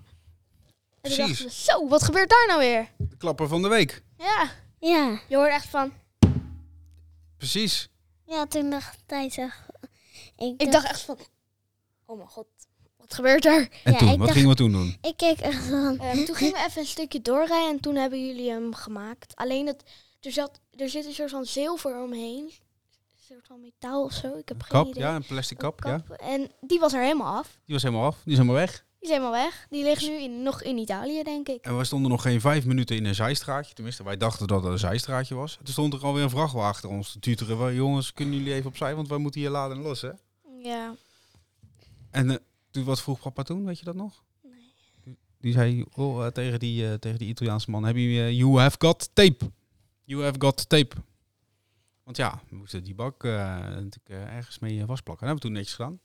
Speaker 3: toen
Speaker 1: Precies.
Speaker 3: dachten we, zo, wat gebeurt daar nou weer?
Speaker 1: de klapper van de week.
Speaker 3: Ja,
Speaker 2: Ja.
Speaker 3: je hoorde echt van,
Speaker 1: Precies.
Speaker 2: Ja, toen dacht hij zeg. Ik,
Speaker 3: ik dacht echt van, oh mijn god, wat gebeurt er?
Speaker 1: En
Speaker 2: Ja,
Speaker 1: toen,
Speaker 2: ik
Speaker 1: wat
Speaker 2: dacht-
Speaker 1: gingen we toen doen?
Speaker 2: ik keek echt van.
Speaker 3: Ehm, toen gingen we even een stukje doorrijden en toen hebben jullie hem gemaakt. Alleen dat er, zat, er zit een soort van zilver omheen. Een soort van metaal of zo. Ik heb geen
Speaker 1: Kap,
Speaker 3: idee.
Speaker 1: ja, een plastic kap, ja.
Speaker 3: En die was er helemaal af.
Speaker 1: Die was helemaal af, die is helemaal weg.
Speaker 3: Die is helemaal weg. Die ligt nu in, nog in Italië, denk ik.
Speaker 1: En we stonden nog geen vijf minuten in een zijstraatje. Tenminste, wij dachten dat het een zijstraatje was. Toen stond er alweer een vrachtwagen achter ons te tuteren. Wij, jongens, kunnen jullie even opzij, want wij moeten hier laden en lossen.
Speaker 3: Ja.
Speaker 1: En eh, toen, wat vroeg papa toen, weet je dat nog? Nee. Die zei oh, eh, tegen, die, eh, tegen die Italiaanse man, heb je, eh, you have got tape. You have got tape. Want ja, we moesten die bak eh, natuurlijk eh, ergens mee eh, vastplakken. Dat hebben we toen netjes gedaan.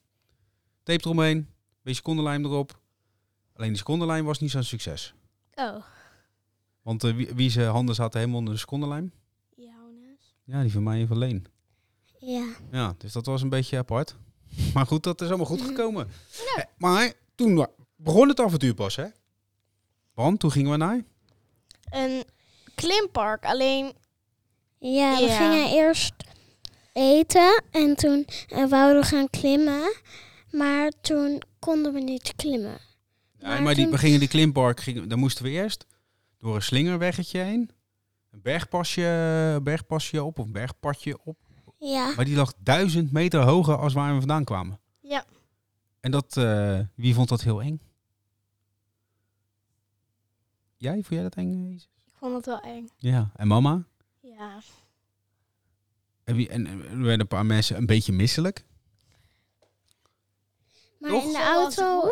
Speaker 1: Tape eromheen, beetje secondenlijm erop. Alleen die secondenlijm was niet zo'n succes.
Speaker 3: Oh.
Speaker 1: Want eh, wie, wie zijn handen zaten helemaal onder de secondenlijm?
Speaker 3: Jonas.
Speaker 1: Ja, die van mij en van Leen.
Speaker 2: Ja.
Speaker 1: Ja, dus dat was een beetje apart. Maar goed, dat is allemaal goed gekomen. Eh, Maar toen wa- begon het avontuur pas, hè? Want toen gingen we naar...
Speaker 3: Een klimpark. Alleen,
Speaker 2: Ja, we
Speaker 3: Ja.
Speaker 2: gingen eerst eten en toen eh, wouden we gaan klimmen. Maar toen konden we niet klimmen.
Speaker 1: Nee, maar die,
Speaker 2: toen-
Speaker 1: we gingen die klimpark, gingen, dan moesten we eerst door een slingerweggetje heen. Een bergpasje, bergpasje op of een bergpadje op.
Speaker 2: Ja.
Speaker 1: Maar die lag duizend meter hoger als waar we vandaan kwamen.
Speaker 3: ja.
Speaker 1: En dat, eh, wie vond dat heel eng? Jij, vond jij dat eng? eh, Isa?
Speaker 3: Ik vond het wel eng.
Speaker 1: Ja, en mama?
Speaker 3: Ja.
Speaker 1: En, wie- en en er werden een paar mensen een beetje misselijk.
Speaker 2: Maar
Speaker 1: Toch?
Speaker 2: in de
Speaker 3: Zo was
Speaker 2: auto.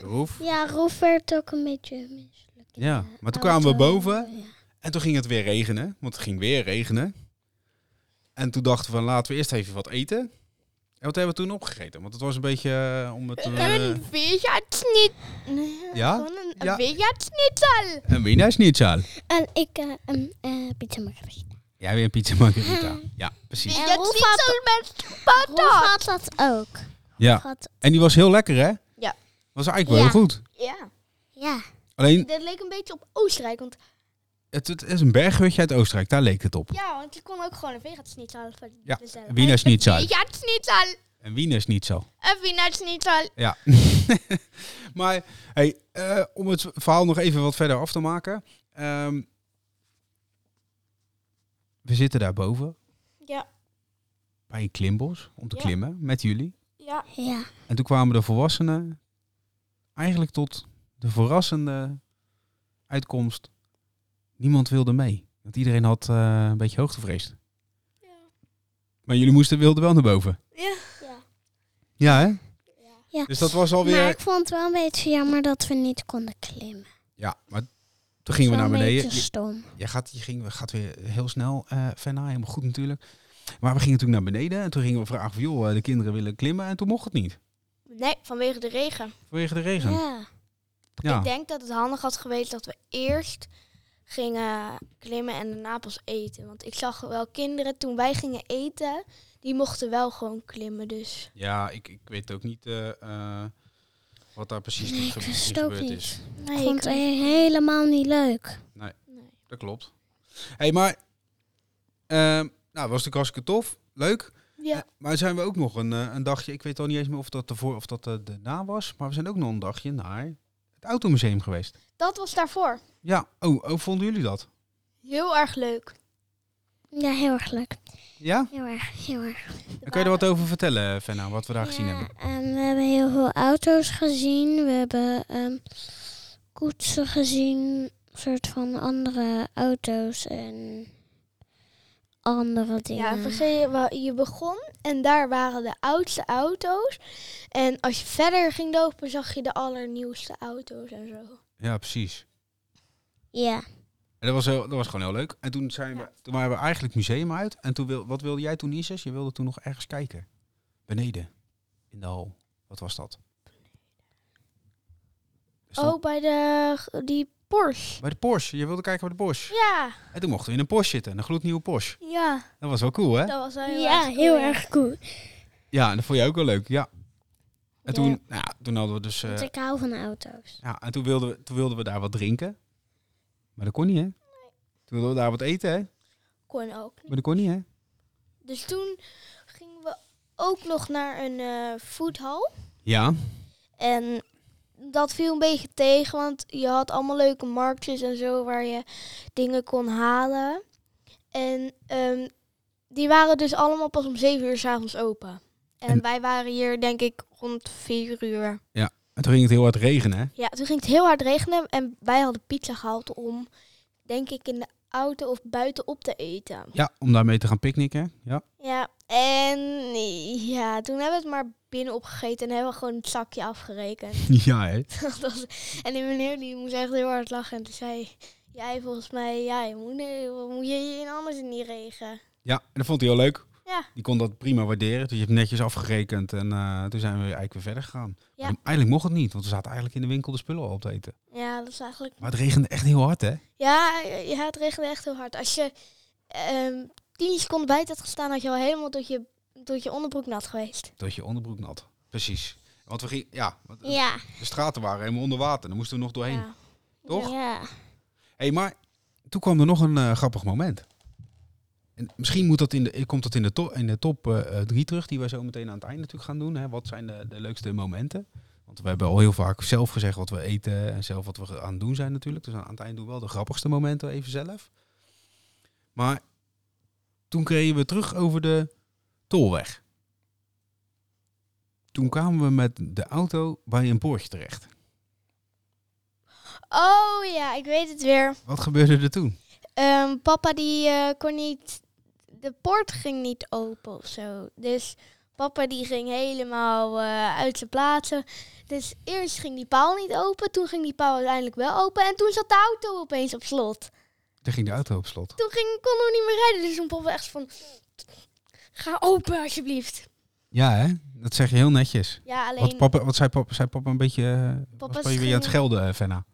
Speaker 1: Roef.
Speaker 2: Ja, Roef werd ook een beetje misselijk. in
Speaker 1: Ja,
Speaker 2: de
Speaker 1: maar toen kwamen we
Speaker 2: auto.
Speaker 1: boven.
Speaker 2: Ja.
Speaker 1: En toen ging het weer regenen, want het ging weer regenen. En toen dachten we, laten we eerst even wat eten. En wat hebben we toen opgegeten? Want het was een beetje eh, om het... eh,
Speaker 3: Een weerjaarsnit. Nee,
Speaker 1: Ja?
Speaker 3: Gewoon een
Speaker 1: Ja.
Speaker 3: een weerjaarsnitzel.
Speaker 1: een wienersnitsaal.
Speaker 2: En ik eh een eh pizza margarita.
Speaker 1: Ja, weer een pizza margherita.
Speaker 3: Mm.
Speaker 1: Ja, precies.
Speaker 2: En Roef
Speaker 3: Weerjaarsnitzel met
Speaker 2: Roef
Speaker 3: patat.
Speaker 2: had dat ook.
Speaker 1: Ja,
Speaker 2: Had,
Speaker 1: en die was heel lekker, hè?
Speaker 3: Ja.
Speaker 1: Was eigenlijk wel heel goed.
Speaker 3: Ja.
Speaker 2: ja.
Speaker 1: Alleen,
Speaker 3: Dat leek een beetje op Oostenrijk, want
Speaker 1: het, het is een bergwutje uit Oostenrijk, daar leek het op.
Speaker 3: ja, want je kon ook gewoon een vegatsnitzel van
Speaker 1: Ja,
Speaker 3: bestellen.
Speaker 1: een wienersnitzel.
Speaker 3: Vegatsnitzel.
Speaker 1: En wienersnitsaal.
Speaker 3: Een wienersnitzel.
Speaker 1: Ja. maar hey, eh, om het verhaal nog even wat verder af te maken. Ehm, we zitten daarboven
Speaker 3: Ja,
Speaker 1: bij een klimbos om te
Speaker 3: Ja.
Speaker 1: klimmen met jullie.
Speaker 3: ja.
Speaker 2: Ja.
Speaker 1: En toen kwamen de volwassenen eigenlijk tot de verrassende uitkomst. Niemand wilde mee. Want iedereen had eh, een beetje hoogtevrees.
Speaker 3: Ja.
Speaker 1: Maar jullie moesten wilden wel naar boven.
Speaker 3: Ja.
Speaker 1: Ja, hè?
Speaker 2: Ja.
Speaker 1: Dus dat was alweer...
Speaker 2: Maar ik vond het wel een beetje jammer dat we niet konden klimmen.
Speaker 1: Ja, maar toen gingen we
Speaker 2: Wel
Speaker 1: naar
Speaker 2: een
Speaker 1: beneden.
Speaker 2: beetje stom.
Speaker 1: Jij gaat, je ging, gaat weer heel snel eh verna, helemaal goed natuurlijk. Maar we gingen toen naar beneden en toen gingen we vragen van, joh, eh, de kinderen willen klimmen en toen mocht het niet.
Speaker 3: Nee, vanwege de regen.
Speaker 1: Vanwege de regen.
Speaker 3: Ja.
Speaker 1: Ja.
Speaker 3: Ik denk dat het handig had geweest dat we eerst gingen klimmen en daarna pas eten. Want ik zag wel kinderen toen wij gingen eten, die mochten wel gewoon klimmen. Dus
Speaker 1: Ja, ik, ik weet ook niet eh, eh, wat daar precies
Speaker 2: Nee,
Speaker 1: in
Speaker 2: ik
Speaker 1: gebe-
Speaker 2: wist
Speaker 1: in
Speaker 2: het ook
Speaker 1: gebeurd
Speaker 2: niet.
Speaker 1: is.
Speaker 2: Ik vond het helemaal niet leuk.
Speaker 3: nee.
Speaker 1: Dat klopt. hey, maar... ehm, nou, was de hartstikke tof. Leuk.
Speaker 3: Ja.
Speaker 1: Eh, maar zijn we ook nog een, eh, een dagje... Ik weet al niet eens meer of dat ervoor of dat eh, daarna was. Maar we zijn ook nog een dagje naar het Automuseum geweest.
Speaker 3: Dat was daarvoor.
Speaker 1: Ja, oh, oh vonden jullie dat?
Speaker 3: Heel erg leuk.
Speaker 2: Ja, heel erg leuk.
Speaker 1: Ja?
Speaker 2: Heel erg, heel erg.
Speaker 1: Dan kun je er wat over vertellen, Fenna, wat we daar gezien hebben.
Speaker 2: En we hebben heel veel auto's gezien. We hebben ehm, koetsen gezien. soort van andere auto's en andere
Speaker 3: Ja,
Speaker 2: dingen.
Speaker 3: vergeet je, je begon en daar waren de oudste auto's. En als je verder ging lopen, zag je de allernieuwste auto's en zo.
Speaker 1: Ja, precies.
Speaker 2: Ja.
Speaker 1: En dat was, heel, dat was gewoon heel leuk. En toen, zijn we, toen waren we eigenlijk museum uit. En toen wil, wat wilde jij toen, Isis? Je wilde toen nog ergens kijken. Beneden. In de hal. Wat was dat? Er stond-
Speaker 3: Oh, bij de, die Porsche.
Speaker 1: Bij de Porsche. Je wilde kijken bij de Porsche.
Speaker 3: Ja,
Speaker 1: En toen mochten we in een Porsche zitten. Een gloednieuwe Porsche.
Speaker 3: ja.
Speaker 1: Dat was wel cool, hè?
Speaker 3: Dat was wel heel
Speaker 2: Ja,
Speaker 3: erg
Speaker 2: heel
Speaker 3: cool, ja.
Speaker 2: erg cool.
Speaker 1: Ja, en dat vond je ook wel leuk. Ja.
Speaker 2: Ja.
Speaker 1: En toen, nou ja, toen hadden we dus... eh,
Speaker 2: Want ik hou van auto's.
Speaker 1: ja, en toen wilden, we, toen wilden we daar wat drinken. Maar dat kon niet, hè? Toen wilden we daar wat eten, hè?
Speaker 3: Kon ook.
Speaker 1: Maar dat kon niet, hè?
Speaker 3: Dus toen gingen we ook nog naar een eh foodhall.
Speaker 1: Ja.
Speaker 3: En dat viel een beetje tegen, want je had allemaal leuke marktjes en zo waar je dingen kon halen. En ehm, die waren dus allemaal pas om 7 uur s'avonds open. En,
Speaker 1: En-
Speaker 3: wij waren hier denk ik rond 4 uur.
Speaker 1: En toen ging het heel hard regenen, hè?
Speaker 3: Ja, toen ging het heel hard regenen en wij hadden pizza gehaald om, denk ik, in de auto of buiten op te eten.
Speaker 1: Ja, om daarmee te gaan picknicken. Ja.
Speaker 3: Ja, en ja, toen hebben we het maar binnen opgegeten en hebben we gewoon het zakje afgerekend.
Speaker 1: Ja, hè?
Speaker 3: Dat was- en die meneer die moest echt heel hard lachen en toen zei jij volgens mij, ja, je moet, nee, wat moet je je in anders in die regen?
Speaker 1: Ja, en dat vond hij heel leuk.
Speaker 3: Ja.
Speaker 1: Die kon dat prima waarderen. Dus je hebt netjes afgerekend en eh, toen zijn we eigenlijk weer verder gegaan.
Speaker 3: Ja.
Speaker 1: Maar Eigenlijk mocht het niet, want we zaten eigenlijk in de winkel de spullen al op te eten.
Speaker 3: Ja, dat is eigenlijk...
Speaker 1: Maar het regende echt heel hard, hè?
Speaker 3: Ja, ja het regende echt heel hard. Als je ehm tien seconden buiten had gestaan, had je al helemaal tot je, tot je onderbroek nat geweest.
Speaker 1: Tot je onderbroek nat. Precies. Want we gingen, ja, want
Speaker 2: Ja.
Speaker 1: de straten waren helemaal onder water. Daar moesten we nog doorheen.
Speaker 3: Ja.
Speaker 1: Toch?
Speaker 2: Ja.
Speaker 1: hey, maar toen kwam er nog een eh, grappig moment. En misschien moet dat in de, komt dat in de, to- in de top 3 terug, die wij zo meteen aan het eind natuurlijk gaan doen. Hè. Wat zijn de, de leukste momenten? Want we hebben al heel vaak zelf gezegd wat we eten en zelf wat we ge- aan het doen zijn natuurlijk. Dus aan, aan het eind doen we wel de grappigste momenten even zelf. Maar toen kregen we terug over de tolweg. Toen kwamen we met de auto bij een poortje terecht.
Speaker 3: Oh ja, ik weet het weer.
Speaker 1: Wat gebeurde er toen?
Speaker 3: Ehm, papa die eh, kon niet, de poort ging niet open of zo. Dus papa die ging helemaal eh, uit zijn plaatsen. Dus eerst ging die paal niet open, toen ging die paal uiteindelijk wel open. En toen zat de auto opeens op slot.
Speaker 1: Toen ging de auto op slot.
Speaker 3: Toen ging, konden we niet meer rijden, dus toen papa echt van, ga open alsjeblieft.
Speaker 1: Ja, hè? dat zeg je heel netjes.
Speaker 3: Ja, alleen
Speaker 1: Wat, papa, wat zei, papa, zei papa een beetje... eh,
Speaker 3: Papa
Speaker 1: was papa je weer aan het
Speaker 3: schreeuwde.
Speaker 1: schelden, eh, Venna?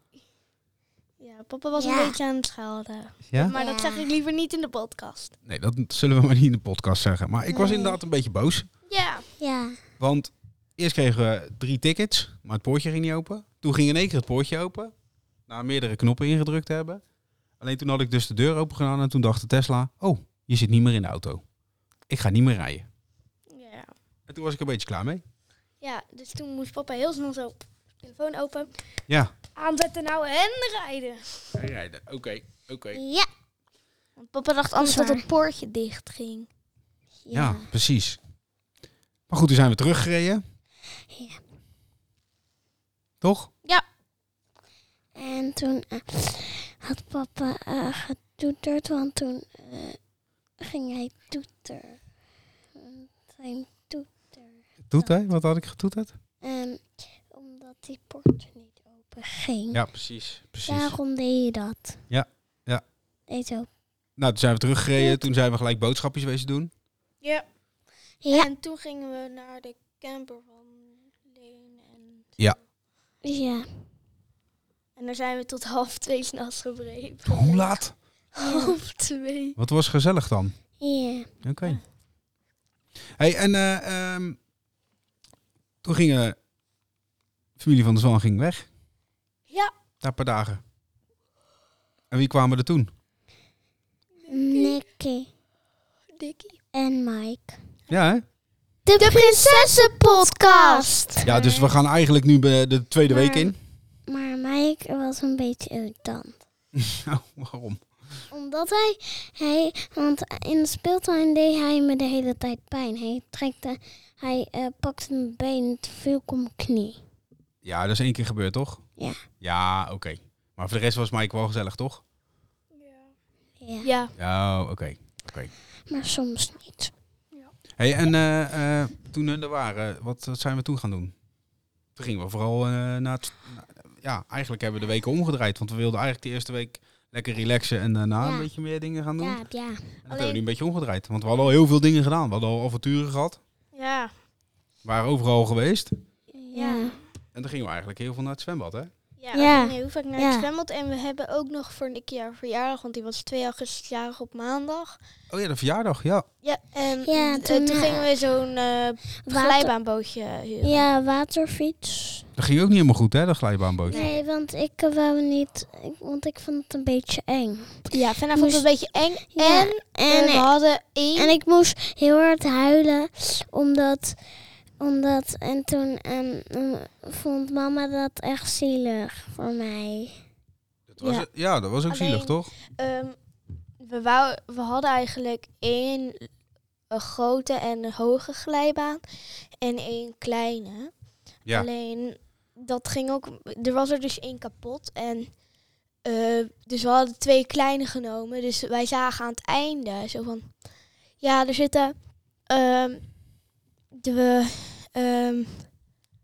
Speaker 3: ja, papa was
Speaker 2: Ja.
Speaker 3: een beetje aan het schelden.
Speaker 1: Ja?
Speaker 3: Maar
Speaker 2: Ja.
Speaker 3: dat zeg ik liever niet in de podcast.
Speaker 1: Nee, dat zullen we maar niet in de podcast zeggen. Maar ik was
Speaker 2: Nee.
Speaker 1: inderdaad een beetje boos.
Speaker 3: Ja,
Speaker 2: Ja.
Speaker 1: Want eerst kregen we drie tickets, maar het poortje ging niet open. Toen ging in één keer het poortje open. Na meerdere knoppen ingedrukt te hebben. Alleen toen had ik dus de deur open gedaan en toen dacht de Tesla... Oh, je zit niet meer in de auto. Ik ga niet meer rijden.
Speaker 3: ja.
Speaker 1: En toen was ik een beetje klaar mee.
Speaker 3: ja, dus toen moest papa heel snel zo telefoon open.
Speaker 1: Ja.
Speaker 3: aanzetten nou en rijden.
Speaker 1: Rijden, oké, oké.
Speaker 2: Ja.
Speaker 3: Papa dacht
Speaker 2: anders dat het
Speaker 3: poortje dicht ging.
Speaker 1: Ja, precies. Maar goed, toen zijn we teruggereden.
Speaker 2: Ja.
Speaker 1: Toch?
Speaker 2: En toen eh, had papa eh, getoeterd, want toen eh, ging hij toeter. Want Hij toeter.
Speaker 1: Doet hij? Wat had ik getoeterd?
Speaker 2: En ehm, omdat die poort niet open ging.
Speaker 1: Ja, precies. precies.
Speaker 2: Daarom deed je dat.
Speaker 1: Ja, ja.
Speaker 2: Deed zo.
Speaker 1: Nou, toen zijn we teruggereden. Toen zijn we gelijk boodschapjes wezen doen.
Speaker 3: Ja.
Speaker 2: Ja.
Speaker 3: En toen gingen we naar de camper van Leon.
Speaker 1: Ja.
Speaker 2: Ja.
Speaker 3: En daar zijn we tot half twee s'nachts gebleven.
Speaker 1: Hoe laat?
Speaker 3: Half twee.
Speaker 1: Wat was gezellig dan?
Speaker 2: Ja.
Speaker 1: Oké. Hey, en eh, ehm, toen ging eh, familie van de Zwan ging weg.
Speaker 3: Ja.
Speaker 1: Daar een paar dagen. En wie kwamen er toen?
Speaker 2: Nicky
Speaker 3: Dikkie.
Speaker 2: en Mike.
Speaker 1: Ja, hè?
Speaker 2: De, Prinsessenpodcast!
Speaker 1: Ja, dus we gaan eigenlijk nu bij de tweede week in.
Speaker 2: Maar Mike was een beetje irritant.
Speaker 1: Oh, waarom?
Speaker 2: Omdat hij, hij, want in de speeltuin deed hij me de hele tijd pijn. Hij, trekte, hij eh, pakte mijn been en toen viel ik op mijn knie.
Speaker 1: Ja, dat is één keer gebeurd, toch?
Speaker 2: Ja.
Speaker 1: Ja, oké. Maar voor de rest was Mike wel gezellig, toch?
Speaker 2: Ja.
Speaker 3: Ja.
Speaker 1: Ja, oké.
Speaker 2: Maar soms niet.
Speaker 1: Hey, en eh, eh, toen hun er waren, wat, wat zijn we toen gaan doen? Toen gingen we vooral eh, naar het... na- ja, eigenlijk hebben we de weken omgedraaid. Want we wilden eigenlijk de eerste week lekker relaxen en daarna
Speaker 2: Ja.
Speaker 1: een beetje meer dingen gaan doen. En
Speaker 2: Ja, ja.
Speaker 1: dat hebben we nu een beetje omgedraaid. Want we hadden al heel veel dingen gedaan. We hadden al avonturen gehad.
Speaker 3: Ja.
Speaker 1: waren overal geweest.
Speaker 2: Ja.
Speaker 1: En toen gingen we eigenlijk heel veel naar het zwembad, hè?
Speaker 3: Ja,
Speaker 2: Ja.
Speaker 3: nee, hoe vaak naar
Speaker 2: Ja.
Speaker 3: het zwembad. En we hebben ook nog voor een keer verjaardag, want die was 2 augustus jarig op maandag.
Speaker 1: Oh ja, de verjaardag, ja.
Speaker 3: Ja, en
Speaker 2: Ja,
Speaker 3: eh,
Speaker 2: toen,
Speaker 3: toen,
Speaker 2: eh,
Speaker 3: gingen we zo'n eh
Speaker 2: Water,
Speaker 3: glijbaanbootje huren.
Speaker 2: ja, waterfiets.
Speaker 1: Dat ging ook niet helemaal goed, hè, dat glijbaanbootje.
Speaker 2: Nee, want ik eh, wou niet, ik- want ik vond het een beetje eng.
Speaker 3: Ja, Fenna vond het een beetje eng.
Speaker 2: Ja,
Speaker 3: En,
Speaker 2: en,
Speaker 3: eh, we hadden één...
Speaker 2: en ik moest heel hard huilen, omdat, omdat en toen en, en vond mama dat echt zielig voor mij.
Speaker 1: Dat was
Speaker 3: Ja.
Speaker 1: het- ja. dat was ook
Speaker 3: Alleen-
Speaker 1: zielig, toch?
Speaker 3: Ehm, we, wou, we hadden eigenlijk één eh, grote en een hoge glijbaan en één kleine.
Speaker 1: Ja.
Speaker 3: Alleen dat ging ook. Er was er dus één kapot en eh, dus we hadden twee kleine genomen. Dus wij zagen aan het einde zo van, ja, er zitten ehm, de ehm,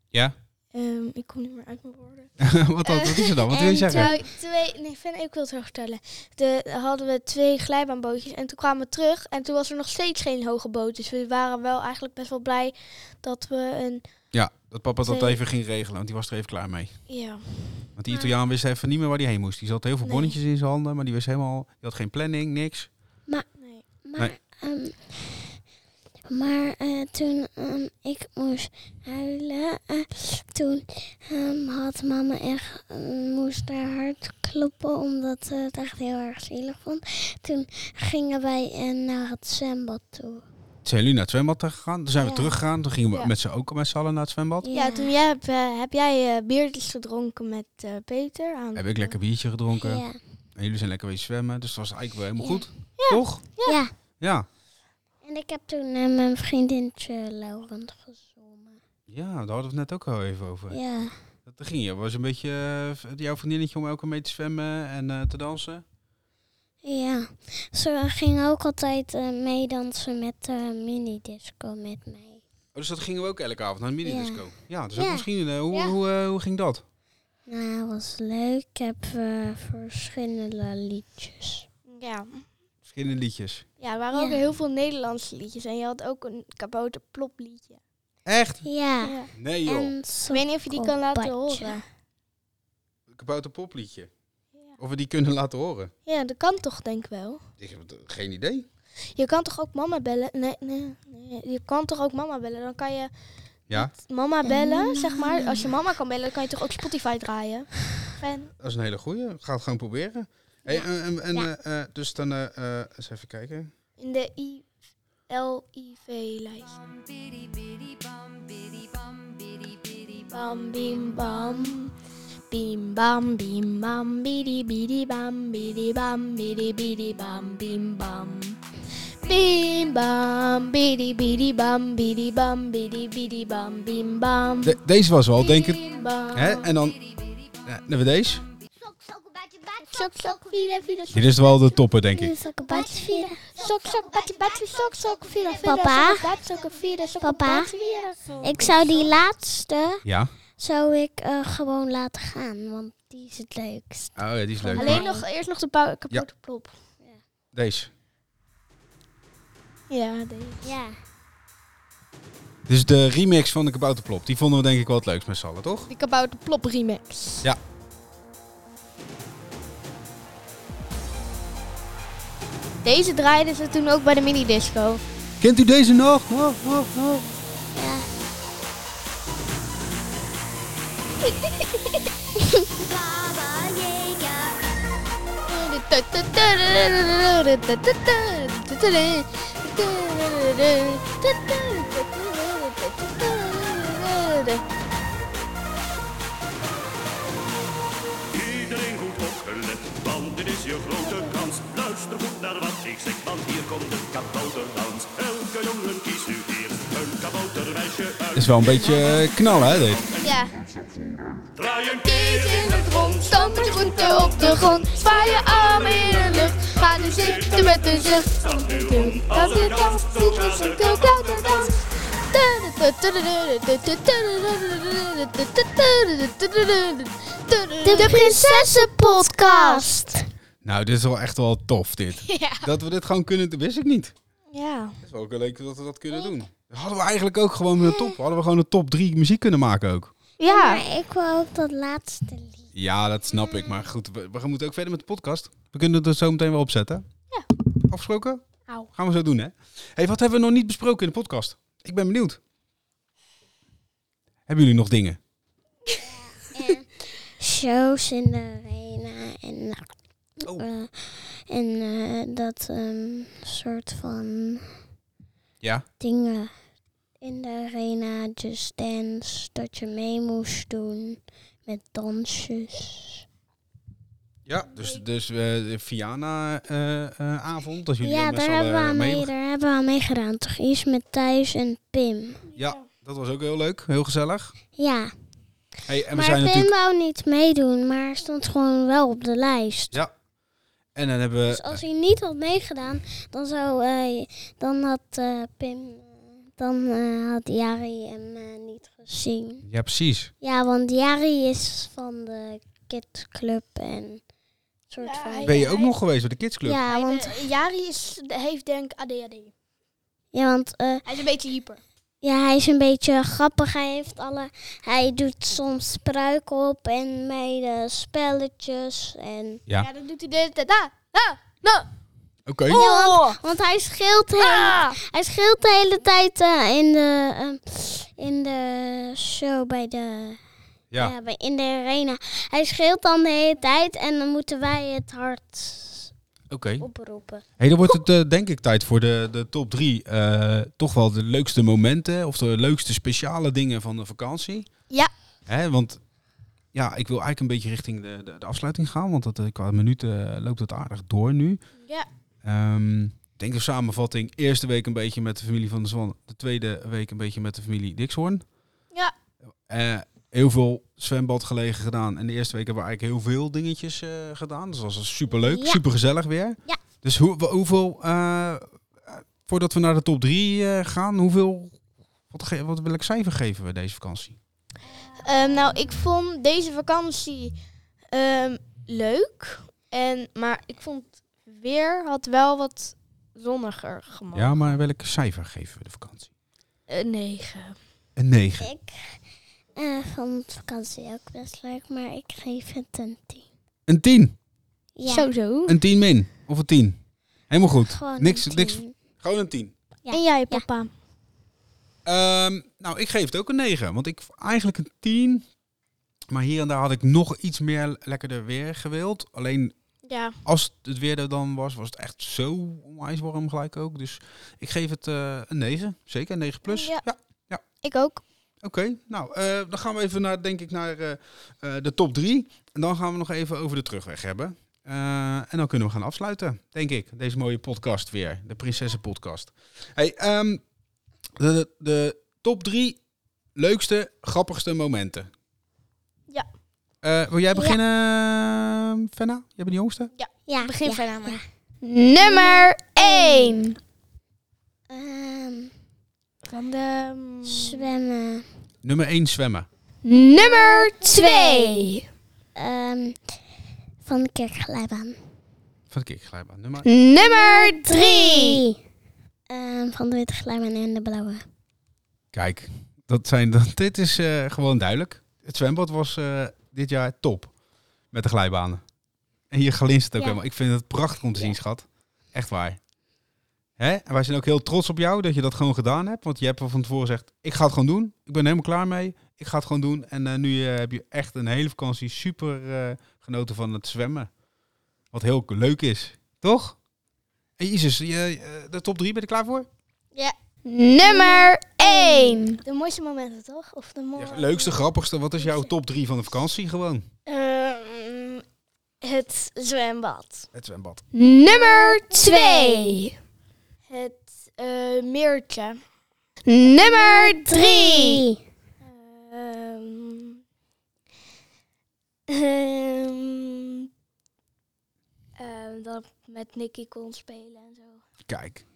Speaker 1: Ja.
Speaker 3: ehm, ik kom niet meer uit mijn woorden.
Speaker 1: wat, dan- wat is er dan? Wat wil je
Speaker 2: en
Speaker 1: zeggen?
Speaker 3: Twee, twee, nee, Finn, ik wil het graag vertellen. De, hadden we twee glijbaanbootjes en toen kwamen we terug en toen was er nog steeds geen hoge boot. Dus we waren wel eigenlijk best wel blij dat we een...
Speaker 1: Ja, dat papa dat
Speaker 3: Twee.
Speaker 1: even ging regelen, want die was er even klaar mee.
Speaker 3: Ja,
Speaker 1: Want die Italiaan wist even niet meer waar hij heen moest. Die zat heel veel
Speaker 3: Nee.
Speaker 1: bonnetjes in zijn handen, maar die wist helemaal... Die had geen planning, niks.
Speaker 3: nee.
Speaker 1: Nee.
Speaker 2: Maar, ehm, maar eh, toen ehm, ik moest huilen, eh, toen ehm, had mama echt, ehm, moest haar hart kloppen omdat ze het echt heel erg zielig vond. Toen gingen wij eh, naar het zwembad toe.
Speaker 1: Toen zijn jullie naar het zwembad gegaan. Toen zijn we
Speaker 2: Ja.
Speaker 1: teruggegaan. Toen gingen we
Speaker 3: Ja.
Speaker 1: met z'n ook met z'n allen naar het zwembad.
Speaker 3: ja toen jij, hebt, eh, heb jij eh, biertjes gedronken met eh, Peter. Aan
Speaker 1: Heb ik lekker biertje gedronken.
Speaker 2: Ja.
Speaker 1: En jullie zijn lekker wezen zwemmen. Dus dat was eigenlijk wel helemaal
Speaker 2: Ja.
Speaker 1: goed. Toch?
Speaker 2: Ja.
Speaker 1: Ja.
Speaker 2: En ik heb toen eh, mijn vriendinnetje Laurent gezongen.
Speaker 1: Ja, daar hadden we het net ook al even over.
Speaker 2: Ja.
Speaker 1: Dat ging je. Was een beetje eh, jouw vriendinnetje om elke mee te zwemmen en eh, te dansen.
Speaker 2: Ja, ze ging ook altijd eh, meedansen met de minidisco met mij.
Speaker 1: Oh, dus dat gingen we ook elke avond naar de minidisco. Ja, dus ook
Speaker 2: Ja.
Speaker 1: misschien. eh, hoe,
Speaker 2: Ja.
Speaker 1: hoe, eh, hoe ging dat?
Speaker 2: Nou, het was leuk. Ik heb eh, verschillende liedjes.
Speaker 3: Ja.
Speaker 1: Verschillende liedjes.
Speaker 3: ja, er waren ook
Speaker 2: Ja.
Speaker 3: heel veel Nederlandse liedjes en je had ook een kabouterplop liedje.
Speaker 1: Echt?
Speaker 2: Ja,
Speaker 3: Ja.
Speaker 1: Nee joh.
Speaker 2: en
Speaker 3: Ik weet niet of je die kan laten
Speaker 2: Sokkelpadje.
Speaker 3: horen.
Speaker 1: Kabouter popliedje.
Speaker 3: Ja.
Speaker 1: Of we die kunnen laten horen.
Speaker 3: ja, dat kan toch denk ik wel.
Speaker 1: Ik heb het- eh, geen idee.
Speaker 3: Je kan toch ook mama bellen? Nee, nee, nee. Je kan toch ook mama bellen? Dan kan je
Speaker 1: Ja,
Speaker 3: mama bellen, zeg maar. Als je mama kan bellen, dan kan je toch ook Spotify draaien? En,
Speaker 1: dat is een hele goeie. Ga het gewoon proberen. Hey, en, en, en, eh, eh, dus dan eh, eh, eens even kijken.
Speaker 3: in de ILIV-lijst. Bam, bim, bam. Bim, bam, bim, bam. Bidi, bidi, bam. Bidi, bam, bidi, bidi, bam. Bim, bam. Bim, bam. Bidi, bidi, bam. Bidi, bam. Bidi, bidi, bam. Bim, bam.
Speaker 1: De- deze was wel, denk ik.
Speaker 3: Bim, bam.
Speaker 1: Hè? En dan ja, hebben we deze.
Speaker 3: Sok, sok, vila, vila, sok.
Speaker 1: Dit is wel de topper, denk ik.
Speaker 2: Sokkelpadje vieren.
Speaker 3: Sok, sok, batje, batje, sok, sok, vila, vila,
Speaker 2: Papa?
Speaker 3: sok, bat, sok, vila, sok,
Speaker 2: Papa?
Speaker 3: batje, vila, sok.
Speaker 2: Ik zou die laatste
Speaker 1: Ja. Oh,
Speaker 2: zou ik eh, gewoon laten gaan, want die is het leukst.
Speaker 1: Oh ja, die is leuk.
Speaker 3: Alleen
Speaker 1: Maar
Speaker 3: nog, eerst nog de bouw- kapotte plop.
Speaker 1: Deze.
Speaker 3: Ja, deze.
Speaker 2: Ja.
Speaker 1: Dus de remix van de kabouterplop, die vonden we denk ik wel het leukst met z'n allen, toch?
Speaker 3: De Kabouter Plop remix.
Speaker 1: Ja.
Speaker 3: Deze draaiden ze toen ook bij de minidisco.
Speaker 1: Kent u deze nog? Oh, oh, oh.
Speaker 2: Ja.
Speaker 5: Iedereen goed opgelet, want dit is je grote kans. Luister goed naar wat ik zeg, want hier komt een kabouterdans. Elke jongen kiest nu eerst een kaboutermeisje
Speaker 1: Dat
Speaker 5: uit.
Speaker 1: is wel een beetje eh, knallen, hè? Dit.
Speaker 3: Ja.
Speaker 5: Draai een
Speaker 3: Kies in het rond, stamp met je voeten op de grond. Zwaai je armen in de lucht, ga nu zitten met een zucht.
Speaker 5: kant nu om,
Speaker 3: Als
Speaker 5: als
Speaker 3: de
Speaker 5: een
Speaker 3: dans,
Speaker 5: kans,
Speaker 3: zoek
Speaker 5: zoek
Speaker 3: je
Speaker 5: als een
Speaker 3: zoek de
Speaker 5: kans.
Speaker 3: klauterdans.
Speaker 2: De Prinsessenpodcast.
Speaker 1: Nou, dit is wel echt wel tof, dit.
Speaker 3: Ja.
Speaker 1: Dat we dit gewoon kunnen, dat wist ik niet.
Speaker 3: Ja.
Speaker 1: Het is wel ook leuk dat we dat kunnen doen. Hadden we eigenlijk ook gewoon een top, hadden we gewoon een top 3 muziek kunnen maken ook.
Speaker 3: Ja.
Speaker 2: Maar ik wil ook dat laatste lied.
Speaker 1: Ja, dat snap ik. Maar goed, we, we moeten ook verder met de podcast. We kunnen het er zo meteen wel opzetten.
Speaker 3: Ja.
Speaker 1: Afgesproken?
Speaker 3: Au.
Speaker 1: Gaan we zo doen, hè? hey, wat hebben we nog niet besproken in de podcast? Ik ben benieuwd. Hebben jullie nog dingen?
Speaker 2: Shows in de arena en,
Speaker 1: Oh.
Speaker 2: eh, en eh, dat ehm, soort van
Speaker 1: Ja.
Speaker 2: dingen in de arena, just dance, dat je mee moest doen met dansjes.
Speaker 1: Ja, dus, dus eh, de Viana-avond. dat jullie
Speaker 2: Ja,
Speaker 1: met z'n
Speaker 2: daar hebben, we
Speaker 1: allen eh,
Speaker 2: aan
Speaker 1: mee
Speaker 2: mee, daar hebben we aan meegedaan. Toch iets met Thijs en Pim.
Speaker 1: Ja, dat was ook heel leuk. Heel gezellig.
Speaker 2: Ja,
Speaker 1: Hey, en we
Speaker 2: maar
Speaker 1: zijn
Speaker 2: Pim
Speaker 1: natuurlijk...
Speaker 2: wou niet meedoen, maar hij stond gewoon wel op de lijst.
Speaker 1: Ja. En dan hebben
Speaker 2: Dus
Speaker 1: we...
Speaker 2: als hij niet had meegedaan, dan zou eh, dan had eh, Pim, eh, dan eh, had Jari hem eh, niet gezien.
Speaker 1: Ja, precies.
Speaker 2: Ja, want Jari is van de Kid Club en soort
Speaker 3: Ja,
Speaker 2: van.
Speaker 3: hij-
Speaker 1: Ben je ook nog geweest bij de Kidsclub?
Speaker 2: Ja, want,
Speaker 3: Jari is, heeft denk ADHD.
Speaker 2: ja, want eh,
Speaker 3: Hij is een beetje hyper.
Speaker 2: ja, hij is een beetje grappig. Hij heeft alle. Hij doet soms pruik op en meiden spelletjes. En,
Speaker 1: Ja.
Speaker 3: Ja, dan doet hij de hele tijd. Ah, ah, nou.
Speaker 1: Oké.
Speaker 3: Oh.
Speaker 2: want hij scheelt heel.
Speaker 3: Ah.
Speaker 2: Hij scheelt de hele tijd eh, in, de, ehm, in de show bij de. Ja.
Speaker 1: Ja.
Speaker 2: bij- in de arena. Hij scheelt dan de hele tijd en dan moeten wij het hard
Speaker 1: Oké.
Speaker 2: oproepen.
Speaker 1: Hey, dan wordt het eh, denk ik tijd voor de, de top drie. eh, toch wel de leukste momenten of de leukste speciale dingen van de vakantie.
Speaker 3: Ja.
Speaker 1: Hè, want ja, ik wil eigenlijk een beetje richting de, de, de afsluiting gaan, want dat, eh, qua minuten eh, loopt het aardig door nu.
Speaker 3: Ja.
Speaker 1: Ehm, ik denk de samenvatting, eerste week een beetje met de familie van de Zwan, de tweede week een beetje met de familie Dixhoorn.
Speaker 3: Ja.
Speaker 1: Eh, heel veel zwembad gelegen gedaan en de eerste week hebben we eigenlijk heel veel dingetjes eh, gedaan. Dus dat was superleuk,
Speaker 2: Ja.
Speaker 1: supergezellig weer.
Speaker 2: Ja.
Speaker 1: Dus hoe, wa- hoeveel, eh, eh, voordat we naar de top drie eh, gaan, hoeveel, wat, ge- wat wil ik cijfer geven we deze vakantie?
Speaker 3: Ehm, nou, ik vond deze vakantie ehm, leuk. En, maar ik vond weer had wel wat zonniger gemaakt. Eh,
Speaker 1: Ja, maar welk cijfer geven we de vakantie?
Speaker 3: Een 9.
Speaker 1: Een 9.
Speaker 2: Ik eh vond vakantie ook best leuk, maar ik geef het een 10.
Speaker 1: Een 10.
Speaker 2: Ja,
Speaker 3: Zo, zo.
Speaker 1: Een 10 min. Of een 10. Helemaal goed.
Speaker 2: gewoon
Speaker 1: niks-
Speaker 2: een
Speaker 1: niks-
Speaker 2: 10.
Speaker 1: Gewoon een 10.
Speaker 2: Ja.
Speaker 3: En jij, papa?
Speaker 1: Ehm, nou, ik geef het ook een 9. Want ik eigenlijk een 10. Maar hier en daar had ik nog iets meer lekkerder weer gewild. Alleen
Speaker 3: Ja.
Speaker 1: als het weer er dan was, was het echt zo onwijs warm gelijk ook. Dus ik geef het eh, een 9. Zeker, een 9 plus.
Speaker 3: Ja.
Speaker 1: Ja,
Speaker 3: Ik ook.
Speaker 1: Oké, nou, eh, dan gaan we even naar, denk ik, naar eh, eh, de top drie. En dan gaan we nog even over de terugweg hebben. Eh, en dan kunnen we gaan afsluiten, denk ik. Deze mooie podcast weer, de Prinsessenpodcast. Hey, ehm, de, de top drie leukste, grappigste momenten.
Speaker 3: Ja.
Speaker 1: Eh, wil jij beginnen, Fenna? Jij bent de jongste?
Speaker 2: Ja,
Speaker 3: Begin
Speaker 2: ja,
Speaker 3: verder
Speaker 2: ja.
Speaker 3: maar. Nummer 1.
Speaker 2: Ehm,
Speaker 3: Van de... ehm,
Speaker 2: zwemmen.
Speaker 1: Nummer 1, zwemmen.
Speaker 3: Nummer 2.
Speaker 2: ehm, van de kerkglijbaan.
Speaker 1: Van de kikglijbaan. Nummer...
Speaker 3: Nummer 3.
Speaker 2: Ehm, van de witte glijbaan en de blauwe.
Speaker 1: Kijk, dat zijn, dat, dit is eh, gewoon duidelijk. Het zwembad was eh, dit jaar top. Met de glijbanen. En hier glinstert het ook
Speaker 3: Ja.
Speaker 1: helemaal. Ik vind het prachtig om te zien, schat. Echt waar. Hè? En wij zijn ook heel trots op jou dat je dat gewoon gedaan hebt. Want je hebt al van tevoren gezegd, ik ga het gewoon doen. Ik ben er helemaal klaar mee. Ik ga het gewoon doen. En eh, nu eh, heb je echt een hele vakantie super eh, genoten van het zwemmen. Wat heel leuk is. Toch? En Jezus, je, eh, de top 3, ben je er klaar voor?
Speaker 3: Nummer 1. De mooiste momenten, toch? Of de
Speaker 1: Ja,
Speaker 3: mooiste...
Speaker 1: leukste, grappigste. Wat is jouw top 3 van de vakantie gewoon?
Speaker 3: Ehm, het zwembad.
Speaker 1: Het zwembad.
Speaker 6: Nummer 2.
Speaker 3: Het eh, meertje.
Speaker 6: Nummer 3.
Speaker 3: Ehm, ehm, ehm, dat ik met Nicky kon spelen en zo.
Speaker 1: Kijk.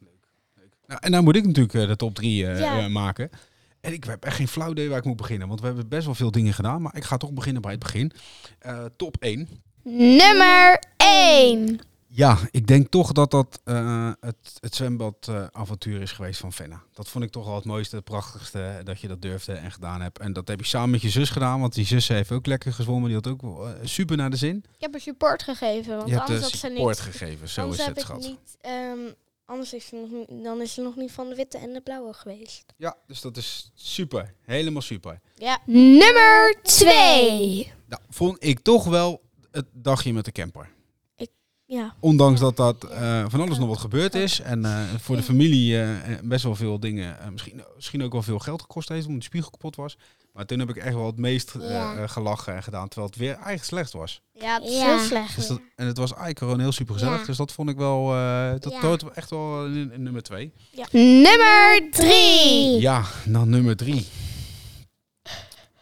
Speaker 1: Nou, en nou moet ik natuurlijk eh, de top 3
Speaker 3: Ja.
Speaker 1: maken. En ik heb echt geen flauw idee waar ik moet beginnen. Want we hebben best wel veel dingen gedaan. Maar ik ga toch beginnen bij het begin. Eh, top 1.
Speaker 6: Nummer
Speaker 3: Hmm.
Speaker 6: 1.
Speaker 1: Ja, ik denk toch dat dat eh, het, het zwembadavontuur is geweest van Venna. Dat vond ik toch wel het mooiste, het prachtigste, eh, dat je dat durfde en gedaan hebt. En dat heb je samen met je zus gedaan, want die zus heeft ook lekker gezwommen. Die had ook eh, super naar de zin.
Speaker 3: Ik heb haar support gegeven, want
Speaker 1: je hebt
Speaker 3: anders
Speaker 1: de
Speaker 3: had ze
Speaker 1: support
Speaker 3: niet.
Speaker 1: gegeven, zo
Speaker 3: anders
Speaker 1: is
Speaker 3: heb
Speaker 1: het,
Speaker 3: ik
Speaker 1: schat.
Speaker 3: niet. ehm, anders is ze nog niet, dan is ze nog niet van de witte en de blauwe geweest.
Speaker 1: Ja, dus dat is super. Helemaal super.
Speaker 3: Ja.
Speaker 6: Nummer 2.
Speaker 1: Nou, vond ik toch wel het dagje met de camper.
Speaker 3: Ja.
Speaker 1: Ondanks dat dat eh, van alles nog wat gebeurd is. En eh, voor de familie eh, eh, best wel veel dingen. eh, misschien, misschien ook wel veel geld gekost heeft omdat de spiegel kapot was. Maar toen heb ik echt wel het meest eh,
Speaker 2: Ja.
Speaker 1: eh, gelachen en gedaan. Terwijl het weer eigenlijk slecht was.
Speaker 3: Ja, het is
Speaker 2: Ja.
Speaker 3: heel slecht.
Speaker 1: Dus dat, en het was eigenlijk gewoon heel super gezellig.
Speaker 2: Ja.
Speaker 1: Dus dat vond ik wel. eh, dat
Speaker 2: Ja.
Speaker 1: hoort echt wel in, in nummer twee.
Speaker 6: Nummer 3.
Speaker 1: Ja, dan nummer drie.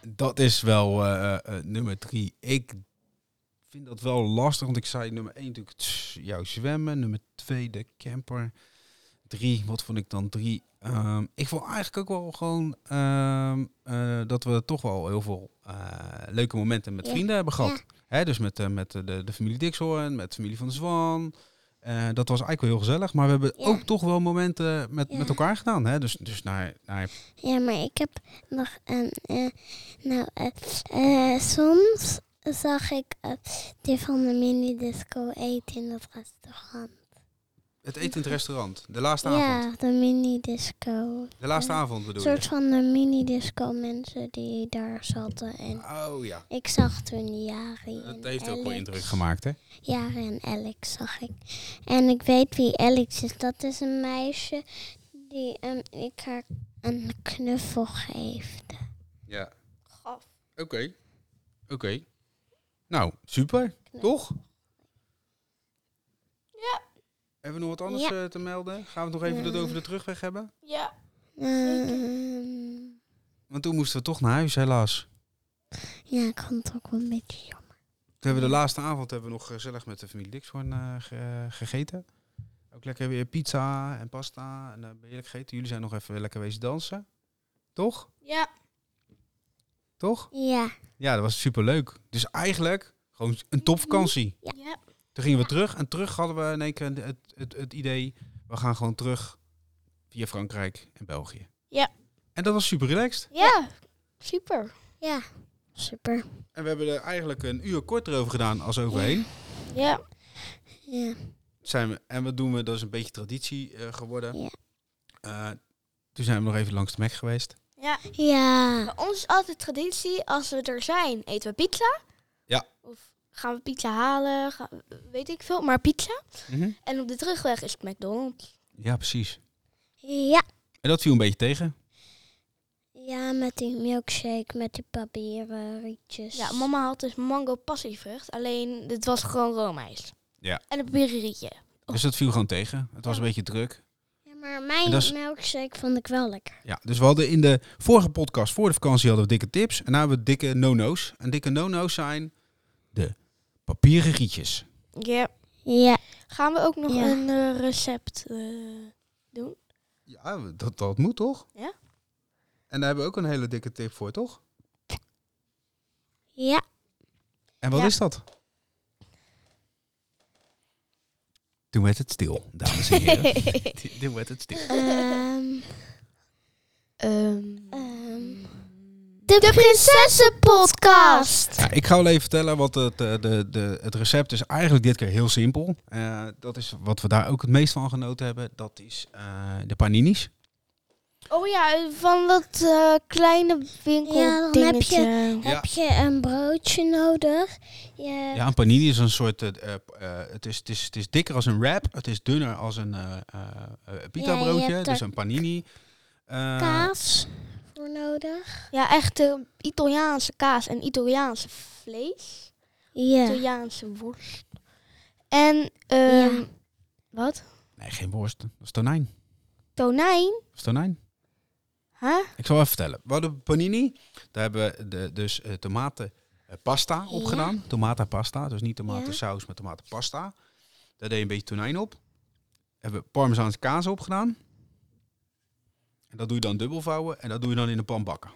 Speaker 1: Dat is wel eh, eh, nummer drie. Ik vind dat wel lastig, want ik zei nummer één natuurlijk tss, jouw zwemmen. Nummer twee de camper. Drie, wat vond ik dan drie? Ehm, ik vond eigenlijk ook wel gewoon ehm, eh, dat we toch wel heel veel eh, leuke momenten met
Speaker 2: Ja.
Speaker 1: vrienden hebben gehad. Hè, dus met, eh, met eh, de, de familie Dixhoorn, met de familie van de Zwan. Eh, dat was eigenlijk wel heel gezellig, maar we hebben
Speaker 2: Ja.
Speaker 1: ook toch wel momenten met,
Speaker 2: Ja.
Speaker 1: met elkaar gedaan. Hè? Dus, dus naar, naar
Speaker 2: Ja, maar ik heb nog een. eh, nou, eh, eh, soms zag ik eh, die van de mini-disco eten in dat restaurant.
Speaker 1: het eten in het restaurant. De laatste avond.
Speaker 2: Ja, de mini-disco.
Speaker 1: De laatste avond bedoel
Speaker 2: Een
Speaker 1: je?
Speaker 2: soort van de mini-disco mensen die daar zaten. En
Speaker 1: Oh ja,
Speaker 2: ik zag toen Jari.
Speaker 1: dat
Speaker 2: en
Speaker 1: heeft ook wel
Speaker 2: Alex.
Speaker 1: indruk gemaakt hè?
Speaker 2: Jaren en Alex zag ik. En ik weet wie Alex is. Dat is een meisje die ehm, ik haar een knuffel geeft.
Speaker 1: Ja. Oké. Oké. Nou, super. Toch?
Speaker 3: Ja.
Speaker 1: Hebben we nog wat anders
Speaker 2: Ja.
Speaker 1: eh, te melden? Gaan we het nog even dat over de terugweg hebben?
Speaker 3: Ja.
Speaker 2: Ehm,
Speaker 1: Want toen moesten we toch naar huis helaas.
Speaker 2: ja, ik vond het ook wel een beetje jammer.
Speaker 1: Toen hebben we de laatste avond hebben we nog gezellig met de familie Dixhoorn eh, ge- gegeten. Ook lekker weer pizza en pasta en eh, heerlijk gegeten. Jullie zijn nog even lekker wezen dansen. Toch?
Speaker 3: Ja.
Speaker 1: Toch?
Speaker 2: Ja,
Speaker 1: Ja, dat was superleuk. Dus eigenlijk gewoon een topvakantie.
Speaker 2: Ja.
Speaker 3: Ja.
Speaker 1: Toen gingen we terug en terug hadden we in één keer het, het, het idee... we gaan gewoon terug via Frankrijk en België.
Speaker 3: Ja.
Speaker 1: En dat was super relaxed.
Speaker 3: Ja. Super.
Speaker 2: super.
Speaker 1: En we hebben er eigenlijk een uur korter over gedaan als overheen.
Speaker 3: Ja.
Speaker 2: Ja,
Speaker 1: zijn we, en wat doen we? Dat is een beetje traditie eh, geworden.
Speaker 2: Ja.
Speaker 1: Eh, toen zijn we nog even langs de Mac geweest.
Speaker 3: Ja.
Speaker 2: ja.
Speaker 3: Bij ons is altijd traditie, als we er zijn, eten we pizza.
Speaker 1: Ja.
Speaker 3: Of gaan we pizza halen, ga- weet ik veel, maar pizza.
Speaker 1: Mhm.
Speaker 3: En op de terugweg is het McDonald's.
Speaker 1: Ja, precies.
Speaker 2: ja.
Speaker 1: En dat viel een beetje tegen.
Speaker 2: Ja, met die milkshake, met die papieren rietjes.
Speaker 3: Ja, mama had dus mango passievrucht, alleen het was gewoon roomijs.
Speaker 1: Ja.
Speaker 3: En een birrietje.
Speaker 1: Dus dat viel gewoon tegen. Het was een beetje druk.
Speaker 2: Ja, maar
Speaker 1: En
Speaker 2: mijn
Speaker 1: dat is-
Speaker 2: milkshake vond ik wel lekker.
Speaker 1: Ja, dus we hadden in de vorige podcast, voor de vakantie, hadden we dikke tips. En nu hebben we dikke no-no's. En dikke no-no's zijn de papieren rietjes.
Speaker 3: Ja.
Speaker 2: Ja,
Speaker 3: Gaan we ook nog
Speaker 2: Ja.
Speaker 3: een eh, recept eh,
Speaker 1: Ja, dat, dat moet toch?
Speaker 3: Ja.
Speaker 1: En daar hebben we ook een hele dikke tip voor, toch?
Speaker 2: ja.
Speaker 1: En wat
Speaker 3: Ja.
Speaker 1: is dat? Toen werd het stil, dames en heren. Toen werd het stil.
Speaker 2: Ehm,
Speaker 3: Ehm,
Speaker 2: eh,
Speaker 6: de Prinsessenpodcast.
Speaker 1: Ja, ik ga wel even vertellen, want het, eh, de, de, het recept is eigenlijk dit keer heel simpel. Eh, dat is wat we daar ook het meest van genoten hebben. Dat is eh, de paninis.
Speaker 3: Oh ja, van dat eh, kleine winkel
Speaker 2: Ja, dan heb je-
Speaker 1: Ja.
Speaker 2: Heb je een broodje nodig? Je,
Speaker 1: Ja, een panini is een soort... eh, eh, eh, het, is, het, is, het is dikker als een wrap. Het is dunner als een eh pita broodje.
Speaker 2: hebt
Speaker 1: dus
Speaker 2: er
Speaker 1: een panini. Eh,
Speaker 2: kaas voor nodig.
Speaker 3: Ja, echt eh, Italiaanse kaas en Italiaanse vlees.
Speaker 2: Ja.
Speaker 3: Italiaanse worst. En, ehm,
Speaker 2: Ja.
Speaker 3: wat?
Speaker 1: nee, geen worst. Dat is tonijn.
Speaker 3: Tonijn?
Speaker 1: Dat is tonijn.
Speaker 3: Huh?
Speaker 1: Ik zal even vertellen. We hadden panini. Daar hebben we de, dus eh, tomatenpasta op gedaan. Tomatenpasta. Dus niet tomatensaus, maar tomatenpasta. Daar deed je een beetje tonijn op. Hebben we parmezaanse kaas op gedaan. En dat doe je dan dubbel vouwen. En dat doe je dan in de pan bakken.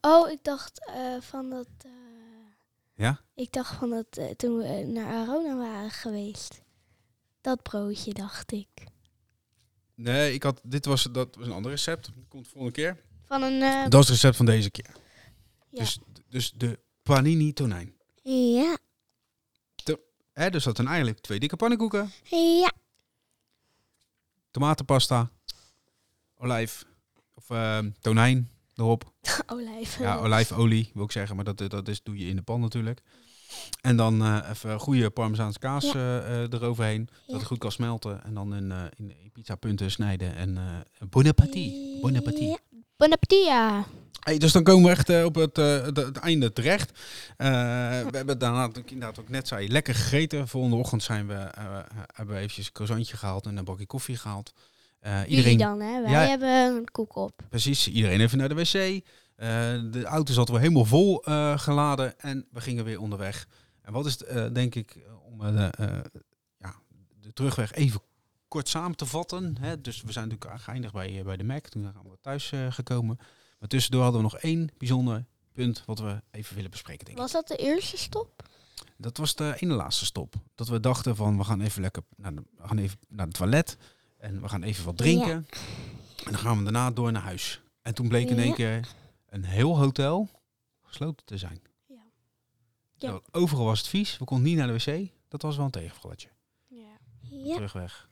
Speaker 3: Oh, ik dacht eh, van dat... eh,
Speaker 1: Ja?
Speaker 3: Ik dacht van dat eh, toen we eh, naar Arona waren geweest. Dat broodje, dacht ik.
Speaker 1: Nee, ik had, dit was, dat was een ander recept. Komt de volgende keer.
Speaker 3: Van een... eh,
Speaker 1: Dat is het recept van deze keer.
Speaker 3: Ja.
Speaker 1: Dus, dus de panini tonijn.
Speaker 3: eh,
Speaker 2: Ja.
Speaker 1: Hè, dus dat zijn eigenlijk twee dikke pannenkoeken.
Speaker 2: Ja.
Speaker 1: tomatenpasta, olijf of ehm, tonijn erop.
Speaker 3: olijf.
Speaker 1: Ja, olijfolie wil ik zeggen, maar dat, dat is, doe je in de pan natuurlijk. En dan eh, even goede parmezaanse kaas eh, eh, eroverheen, dat het goed kan smelten. En dan in, eh, in, in pizzapunten snijden en eh bon appetit. Bon appetit.
Speaker 2: Ja.
Speaker 3: Bon appetit, ja.
Speaker 1: Hey, dus dan komen we echt eh, op het, eh, het- het einde terecht. Eh, we hebben daarna, natuurlijk inderdaad ook net zei, lekker gegeten. Volgende ochtend zijn we, eh, hebben we eventjes een croissantje gehaald en een bakje koffie gehaald. Eh,
Speaker 3: Jullie dan, hè? Wij
Speaker 1: Ja.
Speaker 3: hebben een koek op.
Speaker 1: Precies, iedereen even naar de wc. Eh, de auto zat wel helemaal vol eh, geladen en we gingen weer onderweg. En wat is, het, eh, denk ik, eh, om eh, de, eh, ja, de terugweg even kort samen te vatten. Hè? Dus we zijn natuurlijk geëindigd bij, eh, bij de Mac, toen zijn we thuis eh, gekomen. Maar tussendoor hadden we nog één bijzonder punt wat we even willen bespreken, denk ik.
Speaker 3: Was dat de eerste stop?
Speaker 1: Dat was de ene laatste stop. Dat we dachten van, we gaan even lekker naar de, we gaan even naar het toilet en we gaan even wat drinken. En dan gaan we daarna door naar huis. En toen bleek in één
Speaker 2: Ja.
Speaker 1: keer een heel hotel gesloten te zijn.
Speaker 3: Ja.
Speaker 1: Ja.
Speaker 3: Ja.
Speaker 1: overal was het vies, we konden niet naar de wc. Dat was wel een tegenvalletje.
Speaker 3: Ja.
Speaker 2: Ja.
Speaker 1: Terugweg.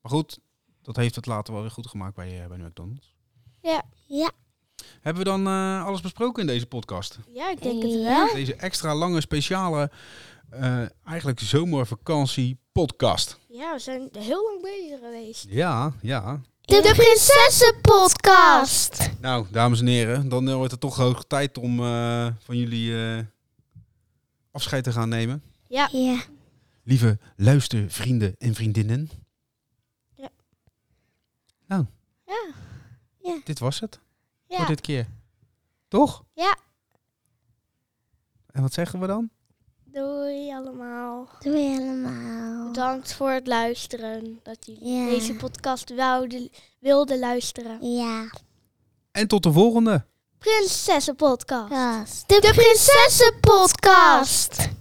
Speaker 1: Maar goed, dat heeft het later wel weer goed gemaakt bij, eh, bij de McDonald's.
Speaker 2: Ja.
Speaker 1: Hebben we dan eh, alles besproken in deze podcast?
Speaker 3: Ja, ik denk het
Speaker 2: Ja.
Speaker 3: wel.
Speaker 1: Deze extra lange, speciale, eh eigenlijk zomervakantie podcast.
Speaker 3: Ja, we zijn heel lang bezig geweest.
Speaker 1: Ja, ja.
Speaker 6: De, Prinsessenpodcast.
Speaker 1: Nou, dames en heren, dan eh, wordt het toch hoog tijd om eh, van jullie eh, afscheid te gaan nemen.
Speaker 2: Ja.
Speaker 1: Lieve luistervrienden en vriendinnen,
Speaker 3: Ja.
Speaker 1: dit was het voor
Speaker 3: Ja.
Speaker 1: dit keer. Toch?
Speaker 3: Ja.
Speaker 1: En wat zeggen we dan?
Speaker 3: Doei allemaal.
Speaker 2: Doe je helemaal.
Speaker 3: Bedankt voor het luisteren. Dat jullie
Speaker 2: Ja.
Speaker 3: deze podcast wilden, wilden luisteren.
Speaker 2: Ja.
Speaker 1: En tot de volgende!
Speaker 3: Prinsessenpodcast.
Speaker 2: Kast.
Speaker 6: De Prinsessenpodcast.